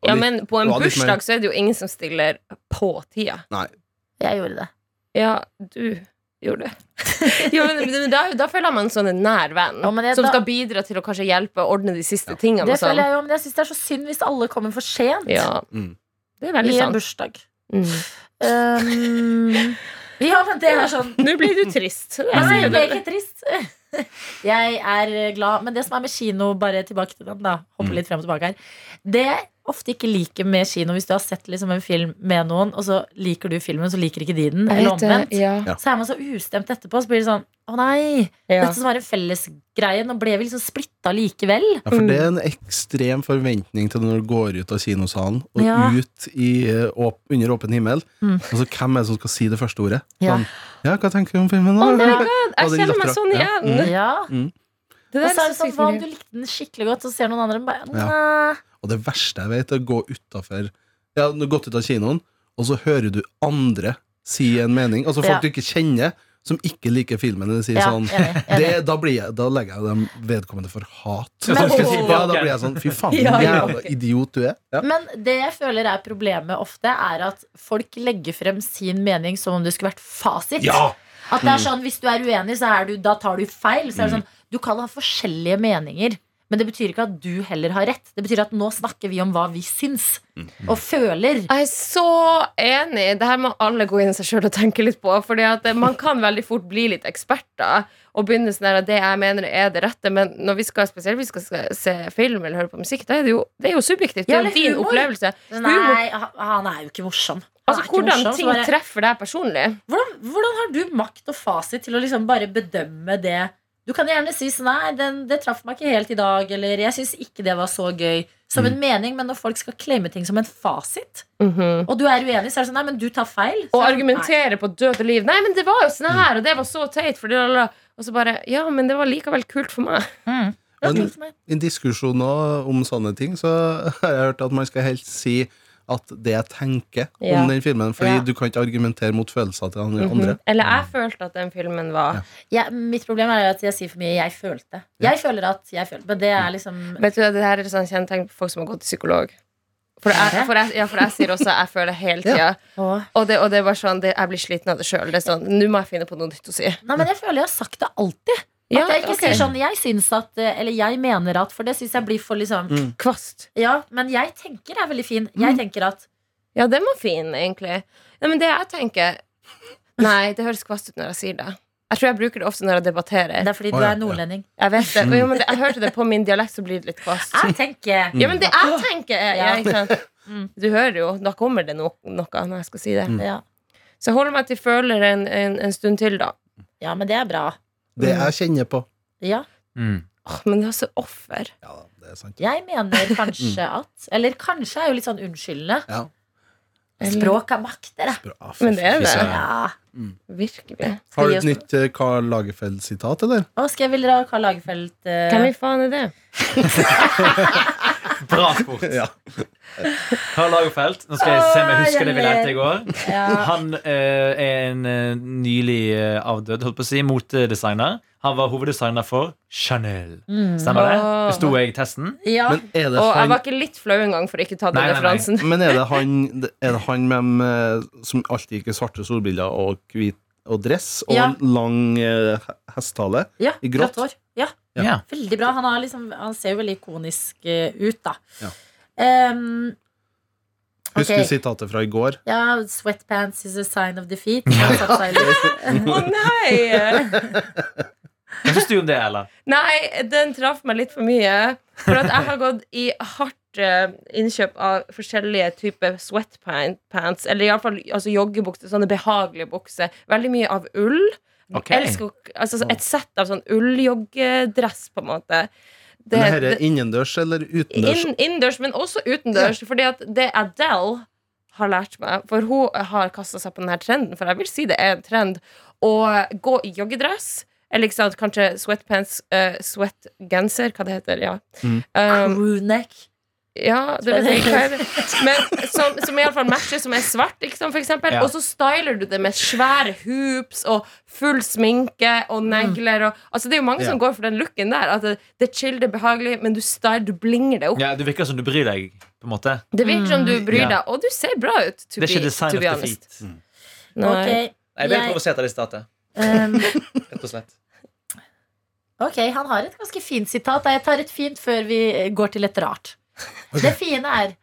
Speaker 3: Ja, men på en
Speaker 5: Det var litt mer-
Speaker 3: bursdag så er det jo ingen som stiller på tida.
Speaker 2: Jeg gjorde det.
Speaker 3: Ja, du gjorde det. jo, men, men da, da føler man en sånn en nær venn
Speaker 2: Ja, men jeg-
Speaker 3: som
Speaker 2: da-
Speaker 3: skal bidra til å kanskje hjelpe og ordne de siste tingene.
Speaker 2: Det
Speaker 3: og sånn.
Speaker 2: føler jeg jo, men jeg syns det er så synd hvis alle kommer for sent
Speaker 3: Ja,
Speaker 5: Mm.
Speaker 3: det er
Speaker 2: i
Speaker 3: veldig
Speaker 2: en
Speaker 3: sant.
Speaker 2: bursdag.
Speaker 3: Mm.
Speaker 2: Um, ja, men det er sånn
Speaker 3: Nå blir du trist. Det er
Speaker 2: Nei,
Speaker 3: sikkert
Speaker 2: jeg ble
Speaker 3: det.
Speaker 2: ikke trist. Jeg er glad. Men det som er med kino, bare tilbake til den, da. Hoppe litt frem og tilbake her. Det jeg ofte ikke liker med kino, hvis du har sett liksom en film med noen, og så liker du filmen, så liker ikke de den, eller omvendt,
Speaker 3: Ja.
Speaker 5: Ja.
Speaker 2: så er man så ustemt etterpå, så blir det sånn Å nei!
Speaker 3: Ja.
Speaker 2: Dette som var en fellesgreie, nå ble vi liksom splitta likevel.
Speaker 5: Ja, for det er en ekstrem forventning til når du går ut av kinosalen og
Speaker 2: Ja.
Speaker 5: ut i, eh, åp, under åpen himmel.
Speaker 2: Mm.
Speaker 5: Altså, hvem er det som skal si det første ordet?
Speaker 2: Ja.
Speaker 5: Sånn, ja, hva tenker du om filmen? da?»
Speaker 3: Oh my god,
Speaker 5: Og
Speaker 3: jeg
Speaker 5: den
Speaker 3: kjenner meg
Speaker 5: datteren.
Speaker 3: sånn
Speaker 5: Ja. Mm.
Speaker 3: igjen.
Speaker 2: Ja.
Speaker 3: Det
Speaker 2: Og
Speaker 3: der
Speaker 2: så er
Speaker 3: er
Speaker 2: det
Speaker 3: så
Speaker 2: sånn, hva om du
Speaker 3: sykt.
Speaker 2: likte den skikkelig godt, og så ser noen andre den bare
Speaker 5: Ja.
Speaker 2: «Næ».
Speaker 5: Og det verste jeg vet, er å gå utafor Ja, du har gått ut av kinoen, og så hører du andre si en mening. Altså folk
Speaker 2: Ja.
Speaker 5: du ikke kjenner, som ikke liker filmen, eller sier
Speaker 2: Ja,
Speaker 5: sånn
Speaker 2: enig, enig.
Speaker 5: det, da, blir jeg, da legger jeg dem vedkommende for hat.
Speaker 4: Men-
Speaker 5: Sånn, skal jeg si,
Speaker 4: Åh.
Speaker 5: ja, da blir jeg sånn Fy faen,
Speaker 3: Ja,
Speaker 5: din
Speaker 3: ja,
Speaker 5: jævla
Speaker 3: ok.
Speaker 5: idiot du er. Ja.
Speaker 2: Men det jeg føler er problemet ofte, er at folk legger frem sin mening som om det skulle vært fasit.
Speaker 5: Mm.
Speaker 2: At det er sånn, Hvis du er uenig, så er du, da tar du feil. Så er det sånn, Du kan ha forskjellige meninger, Men det betyr ikke at du heller har rett. Det betyr at nå snakker vi om hva vi syns
Speaker 5: Mm.
Speaker 2: og føler.
Speaker 3: Jeg er så enig. Det her må alle gå inn i seg sjøl og tenke litt på. Fordi at eh, Man kan veldig fort bli litt eksperter og begynne sånn her at det jeg mener er det rette. Men når vi skal spesielt vi skal skal se film eller høre på musikk, da er det jo, det er jo subjektivt. Det
Speaker 2: Ja,
Speaker 3: er
Speaker 2: eller
Speaker 3: jo din
Speaker 2: humor.
Speaker 3: opplevelse. Humor.
Speaker 2: Nei, han- han er jo ikke morsom. Han
Speaker 3: Altså
Speaker 2: er ikke
Speaker 3: Hvordan
Speaker 2: morsom, så
Speaker 3: ting
Speaker 2: bare-
Speaker 3: treffer deg personlig.
Speaker 2: hvordan, hvordan har du makt og fasit til å liksom bare bedømme det? Du kan gjerne si sånn Nei, den, det traff meg ikke helt i dag. Eller jeg syns ikke det var så gøy. Som
Speaker 3: Mm.
Speaker 2: en mening, men når folk skal klemme ting som en fasit, og du er uenig, så er det sånn Nei, men du tar feil. Så
Speaker 3: Og
Speaker 2: er det sånn, «Nei, Mm.
Speaker 3: argumentere på død og liv. Nei, men det var jo sånn her, og det var så teit. Fordi, la, la, la. og så bare Ja, men det var likevel kult for meg.
Speaker 2: det var
Speaker 5: Men-
Speaker 2: kult for meg».
Speaker 5: I diskusjoner om sånne ting så har jeg hørt at man skal helst si at det jeg tenker
Speaker 3: Ja.
Speaker 5: om den filmen, fordi
Speaker 3: Ja. Mhm.
Speaker 5: du kan ikke argumentere mot følelser til andre. andre.
Speaker 3: Eller jeg følte at den filmen var
Speaker 2: Ja, mitt problem er at jeg sier for mye 'jeg følte'. Jeg føler at jeg følte, men det er liksom
Speaker 3: Vet du, hva, Det her er et sånt kjennetegn på folk som har gått til psykolog. For jeg, for jeg, ja, for jeg sier også 'jeg føler hele tida'.
Speaker 2: Åh.
Speaker 3: Og, det, og det er bare sånn, det, jeg blir sliten av det sjøl. Sånn, Nå må jeg finne på noe nytt å si.
Speaker 2: Nei, men jeg føler jeg har sagt det alltid. At
Speaker 3: Ja,
Speaker 2: jeg ikke
Speaker 3: ok.
Speaker 2: sier sånn 'jeg syns at' eller 'jeg mener at', for det syns jeg blir for liksom
Speaker 3: Mm. Kvast.
Speaker 2: Ja, men jeg tenker er veldig fin. Jeg
Speaker 3: Mm.
Speaker 2: tenker at
Speaker 3: Ja, den var fin, egentlig. Nei, men det jeg tenker Nei, det høres kvast ut når jeg sier det. Jeg tror jeg bruker det ofte når jeg debatterer.
Speaker 2: Det er fordi
Speaker 5: Å,
Speaker 2: du
Speaker 5: ja,
Speaker 2: er nordlending.
Speaker 3: Jeg vet det, jo, men det, jeg hørte det på min dialekt, så blir det litt kvast.
Speaker 2: Jeg tenker
Speaker 3: Ja, Mm. men det jeg tenker er Ah. ja, Mm.
Speaker 2: Ja.
Speaker 3: ikke sant? Du hører jo, da kommer det no noe når jeg skal si det.
Speaker 2: ja.
Speaker 3: Så jeg holder meg til føler en, en, en stund til, da.
Speaker 2: ja, men det er bra.
Speaker 3: Mm.
Speaker 5: Det jeg kjenner på.
Speaker 2: Ja,
Speaker 4: Mm.
Speaker 3: Åh, men det er så offer.
Speaker 5: Ja, det er sant.
Speaker 2: jeg mener kanskje
Speaker 5: Mm.
Speaker 2: at Eller kanskje er jo litt sånn unnskyldende.
Speaker 5: Ja.
Speaker 2: Språk er makt, dere.
Speaker 5: Bra, fy
Speaker 3: Men det er det.
Speaker 5: søren.
Speaker 2: Ja.
Speaker 3: Virkelig.
Speaker 5: Har du
Speaker 2: Skal
Speaker 5: et
Speaker 2: vi-
Speaker 5: nytt eh, Karl Lagerfeld-sitat, eller?
Speaker 2: Å, skal jeg vil dra Karl Lagerfeld eh,
Speaker 3: Hvem i faen er det?
Speaker 4: Bra sport.
Speaker 5: Ja.
Speaker 4: Karl Lagerfeldt. Nå skal jeg se om jeg
Speaker 2: Åh,
Speaker 4: husker det vi
Speaker 2: jeg
Speaker 4: lærte i går.
Speaker 2: ja.
Speaker 4: Han eh, er en eh, nylig eh, avdød holdt på å si, motedesigner. Han var hoveddesigner for Chanel.
Speaker 2: Mm.
Speaker 4: Stemmer det?
Speaker 3: Åh.
Speaker 4: Besto jeg testen?
Speaker 2: ja.
Speaker 5: Men er det
Speaker 3: Og jeg
Speaker 5: han,
Speaker 3: var ikke litt flau engang for ikke ta den
Speaker 4: Nei, nei, nei.
Speaker 3: referansen.
Speaker 5: men er det han, er det han med dem, eh, som alltid gikk i svarte solbriller og hvit og dress og
Speaker 2: Ja.
Speaker 5: lang eh, he- hestehale?
Speaker 2: ja.
Speaker 5: I grått.
Speaker 2: hår. Ja.
Speaker 5: Ja.
Speaker 4: Ja.
Speaker 2: Veldig bra. Han, har liksom, han ser jo veldig ikonisk eh, ut, da.
Speaker 5: Ja.
Speaker 2: Ehm,
Speaker 5: Husker
Speaker 2: Ok.
Speaker 5: du sitatet fra i går?
Speaker 2: ja, 'Sweatpants is a sign of defeat'. Han satt seg litt-
Speaker 3: Å nei!
Speaker 4: Hva syns du om det, eller?
Speaker 3: Nei, den traff meg litt for mye. For at jeg har gått i hardt eh, innkjøp av forskjellige typer sweatpants. Eller iallfall altså joggebukser. Sånne behagelige bukser. Veldig mye av ull.
Speaker 4: Ok.
Speaker 3: Elsker å- altså, et sett av sånn ulljoggedress, på en måte. Det-
Speaker 5: Men dette
Speaker 3: det-
Speaker 5: er innendørs eller utendørs?
Speaker 3: Inn- Innendørs, men også utendørs. Fordi at det Adele har lært meg For hun har kasta seg på denne trenden, for jeg vil si det er en trend, å gå i joggedress. Eller ikke sant, kanskje sweatpants, eh, sweatgenser, hva det heter. Ja.
Speaker 5: Mm.
Speaker 3: Um,
Speaker 2: Crew neck.
Speaker 3: ja, det vet jeg ikke hva er det. Men som, som i alle fall matcher, som er svart, ikke sant, for eksempel.
Speaker 4: Ja.
Speaker 3: Og så styler du det med svære hoops og full sminke og negler og Altså, det er jo mange
Speaker 5: Mm. Ja.
Speaker 3: som går for den looken der. At det, det er chill, det er behagelig, men du styler, du blinger det opp.
Speaker 4: Ja, Du virker som du bryr deg, på en måte.
Speaker 3: Det virker
Speaker 2: Mm.
Speaker 3: som du bryr
Speaker 4: Ja.
Speaker 3: deg, og du ser bra ut. To
Speaker 4: Det er ikke
Speaker 3: be,
Speaker 4: design
Speaker 3: to
Speaker 4: of
Speaker 3: be
Speaker 4: the
Speaker 3: honest.
Speaker 4: feet.
Speaker 3: Nei.
Speaker 2: Ok,
Speaker 4: Mm. Jeg ble
Speaker 2: Jeg-
Speaker 4: provosert av det sitatet.
Speaker 2: ehm,
Speaker 4: Rett og slett.
Speaker 2: Ok, han har et ganske fint sitat. Jeg tar et fint før vi eh, går til et rart. Det fine er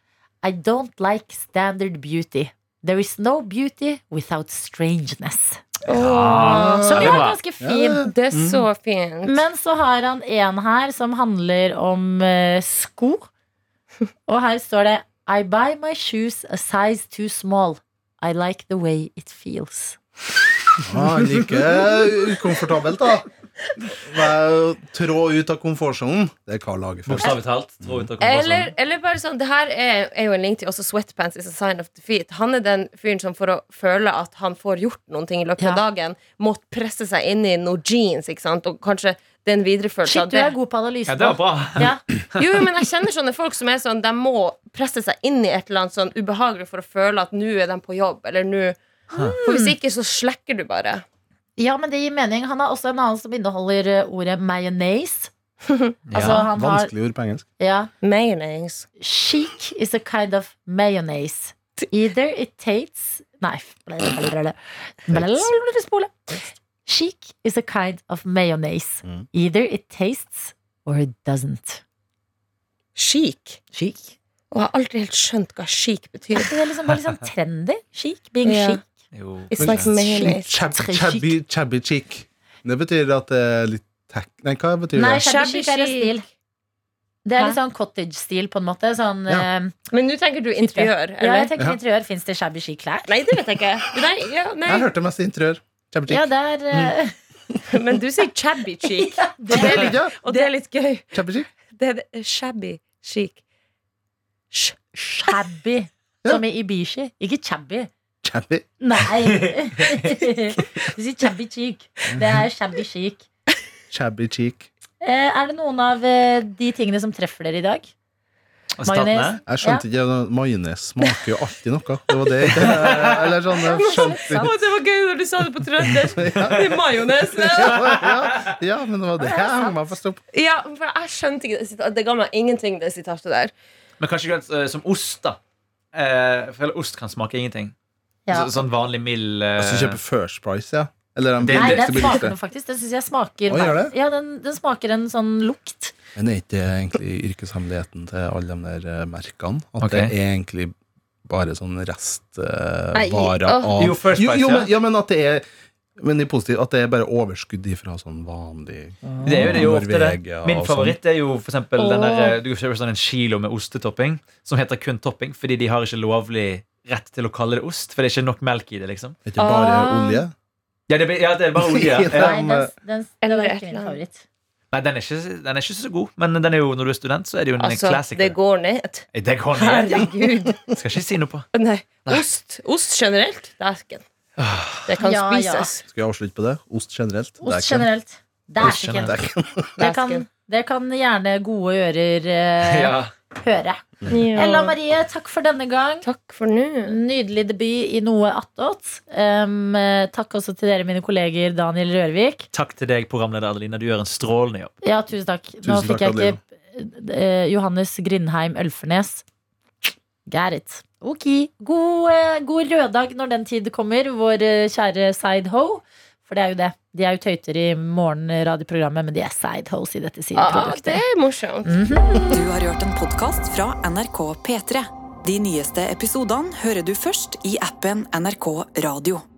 Speaker 2: I don't like standard beauty. There is no beauty without strangeness.
Speaker 5: Ah.
Speaker 4: Ja.
Speaker 2: Som
Speaker 4: det
Speaker 2: jo
Speaker 4: er
Speaker 2: er
Speaker 4: bra.
Speaker 2: ganske fin.
Speaker 3: Ah, Det er
Speaker 4: Mm.
Speaker 3: så fint.
Speaker 2: Men så har han en her som handler om eh, sko. Og her står det I buy my shoes a size too small. I like the way it feels.
Speaker 5: Ah, like ukomfortabelt, da. Vær- Trå ut av komfortsonen. Det er Karl Lagerfeld.
Speaker 4: Bokstavelig talt. Tror jeg,
Speaker 3: Eller, eller bare sånn, det her er, er jo en link til også sweatpants is a sign of defeat. Han er den fyren som for å føle at han får gjort noen ting i løpet av
Speaker 2: Ja.
Speaker 3: dagen, må presse seg inn i noen jeans, ikke sant? Og kanskje det er en videreførelse
Speaker 2: Shit,
Speaker 3: av
Speaker 2: du
Speaker 3: det.
Speaker 2: er god på analyse.
Speaker 4: Ja, det var bra.
Speaker 2: Ja.
Speaker 3: Jo, jo, men jeg kjenner sånne folk som er sånn, de må presse seg inn i et eller annet sånn ubehagelig for å føle at nå er de på jobb, eller nå For hvis ikke, så slekker du bare.
Speaker 2: Ja, men det gir mening. Han har også en annen som inneholder eh, ordet mayonnaise. altså,
Speaker 4: Ja,
Speaker 2: han har
Speaker 5: Vanskelig ord på engelsk.
Speaker 2: ja,
Speaker 3: Mayonnaise.
Speaker 2: Chic is a kind of mayonnaise. Either it tastes Nei. blablabla. Blablabla, Spole. Chic is a kind of mayonnaise.
Speaker 5: Mm.
Speaker 2: Either it tastes or it doesn't.
Speaker 3: chic.
Speaker 2: Chic.
Speaker 3: Og jeg har aldri helt skjønt hva chic betyr.
Speaker 2: Det er liksom bare liksom trendy. Chic. Being
Speaker 3: Ja.
Speaker 2: chic.
Speaker 4: Jo.
Speaker 3: It's like mayonnaise.
Speaker 5: Chab- Chabby chabby chic. Det betyr at det er litt tack... Nei, hva betyr
Speaker 2: Nei,
Speaker 5: det?
Speaker 2: shabby chic er en stil. Det er
Speaker 3: Hæ?
Speaker 2: litt sånn cottage-stil, på en måte. Sånn,
Speaker 5: Ja.
Speaker 2: eh,
Speaker 3: Men nå tenker du interiør,
Speaker 2: ja, jeg
Speaker 3: eller?
Speaker 2: tenker
Speaker 5: Ja.
Speaker 2: interiør. Fins det shabby chic-klær?
Speaker 3: Nei, det vet jeg ikke. Nei, ja, nei.
Speaker 5: Jeg hørte mest interiør. Chabby
Speaker 2: Ja,
Speaker 5: chic.
Speaker 2: det er eh,
Speaker 3: Men du sier shabby
Speaker 5: Mm.
Speaker 3: chic,
Speaker 2: det,
Speaker 5: Det liker jeg.
Speaker 3: og det er litt gøy.
Speaker 5: Chabby chic.
Speaker 3: Det er det- shabby chic. Sh
Speaker 2: Shabby.
Speaker 5: Ja.
Speaker 2: Som i Ibishi. Ikke chabby.
Speaker 5: Chabby.
Speaker 2: Nei. Du sier shabby chic. Det er shabby chic.
Speaker 5: Chabby chic.
Speaker 2: Eh, Er det noen av eh, de tingene som treffer dere i dag?
Speaker 4: Og statene?
Speaker 5: Jeg skjønte ikke Majones smaker jo alltid noe. Det var det jeg ikke- Eller sånn, jeg skjønte
Speaker 3: Å, det var gøy når du sa det på trøndersk! Det er majones.
Speaker 5: ja, ja, men det var det jeg hang meg fast opp.
Speaker 3: Ja, for jeg skjønte ikke det sitatet. Det ga meg ingenting, det sitatet der.
Speaker 4: Men kanskje ikke helt, eh, som ost, da. Eh, for ost kan smake ingenting.
Speaker 2: Ja.
Speaker 4: Så, sånn vanlig mild eh,
Speaker 5: Altså kjøpe First Price, ja. Eller de
Speaker 4: Det-
Speaker 2: Nei, den
Speaker 5: billigste
Speaker 2: smaker
Speaker 5: billigste.
Speaker 2: noe, faktisk. Den syns jeg smaker
Speaker 5: Å, gjør det?
Speaker 2: Ja, den, den smaker en sånn lukt.
Speaker 5: Men er ikke det egentlig yrkeshemmeligheten til alle de der eh, merkene? At
Speaker 4: Ok.
Speaker 5: det er egentlig bare sånn
Speaker 3: Nei,
Speaker 5: restvarer
Speaker 3: åh.
Speaker 5: av
Speaker 4: Jo, First
Speaker 5: jo,
Speaker 4: Price,
Speaker 5: jo,
Speaker 4: ja.
Speaker 5: men, ja, men at det er men i positiv, at det er bare overskudd ifra sånn vanlig
Speaker 4: Det er jo det er jo ofte det.
Speaker 5: Norvegia
Speaker 4: Min
Speaker 5: og sånn.
Speaker 4: favoritt er jo for eksempel den
Speaker 3: Åh.
Speaker 4: der, eh, Du kjøper sånn en kilo med ostetopping som heter kun topping, fordi de har ikke lovlig rett til å kalle det ost, for det er ikke nok melk i det, liksom.
Speaker 5: Er ikke bare
Speaker 3: Ah.
Speaker 5: olje?
Speaker 4: Ja, det, blir- ja, det er bare olje. Ja.
Speaker 2: Nei, den, den, den
Speaker 3: Eller
Speaker 2: var
Speaker 3: et
Speaker 2: ikke
Speaker 3: eller
Speaker 2: min
Speaker 3: annet.
Speaker 2: favoritt.
Speaker 4: Nei, den er, ikke, den er ikke så god, men den er jo, når du er student, så er det jo en
Speaker 3: Altså,
Speaker 4: klassiker.
Speaker 3: det går ned.
Speaker 4: Det går ned.
Speaker 3: Herregud.
Speaker 4: Skal ikke si noe på.
Speaker 3: Nei.
Speaker 4: Nei.
Speaker 3: Ost, ost generelt, dæsken.
Speaker 4: Eh,
Speaker 3: Det kan
Speaker 2: Ja, ja.
Speaker 3: spises.
Speaker 5: Skal vi avslutte på det? Ost generelt? Det er
Speaker 2: Ost
Speaker 5: ikke-
Speaker 2: generelt.
Speaker 4: Ost
Speaker 2: Dæsken.
Speaker 4: generelt.
Speaker 2: Det kan, det kan gjerne gode ører eh,
Speaker 4: Ja.
Speaker 2: høre. Ella Marie, takk for denne gang.
Speaker 3: Takk for nå.
Speaker 2: Nydelig debut i noe attåt. Um, eh, takk også til dere, mine kolleger Daniel Rørvik.
Speaker 4: Takk til deg, programleder Adelina. Du gjør en strålende jobb.
Speaker 2: Ja, tusen takk. Nå
Speaker 5: Tusen
Speaker 2: fikk
Speaker 5: takk,
Speaker 2: jeg ikke eh, Johannes Grindheim Ølfernes. Gerrit. Ok. God, eh, god røddag når den tid kommer, vår eh, kjære sideho. For det er jo det. De er jo tøyter i morgenradioprogrammet, men de er sidehos i dette
Speaker 3: Ah,
Speaker 2: sideproduktet.
Speaker 3: det er morsomt.
Speaker 6: Du har hørt en podkast fra NRK P3. De nyeste episodene hører du først i appen NRK Radio.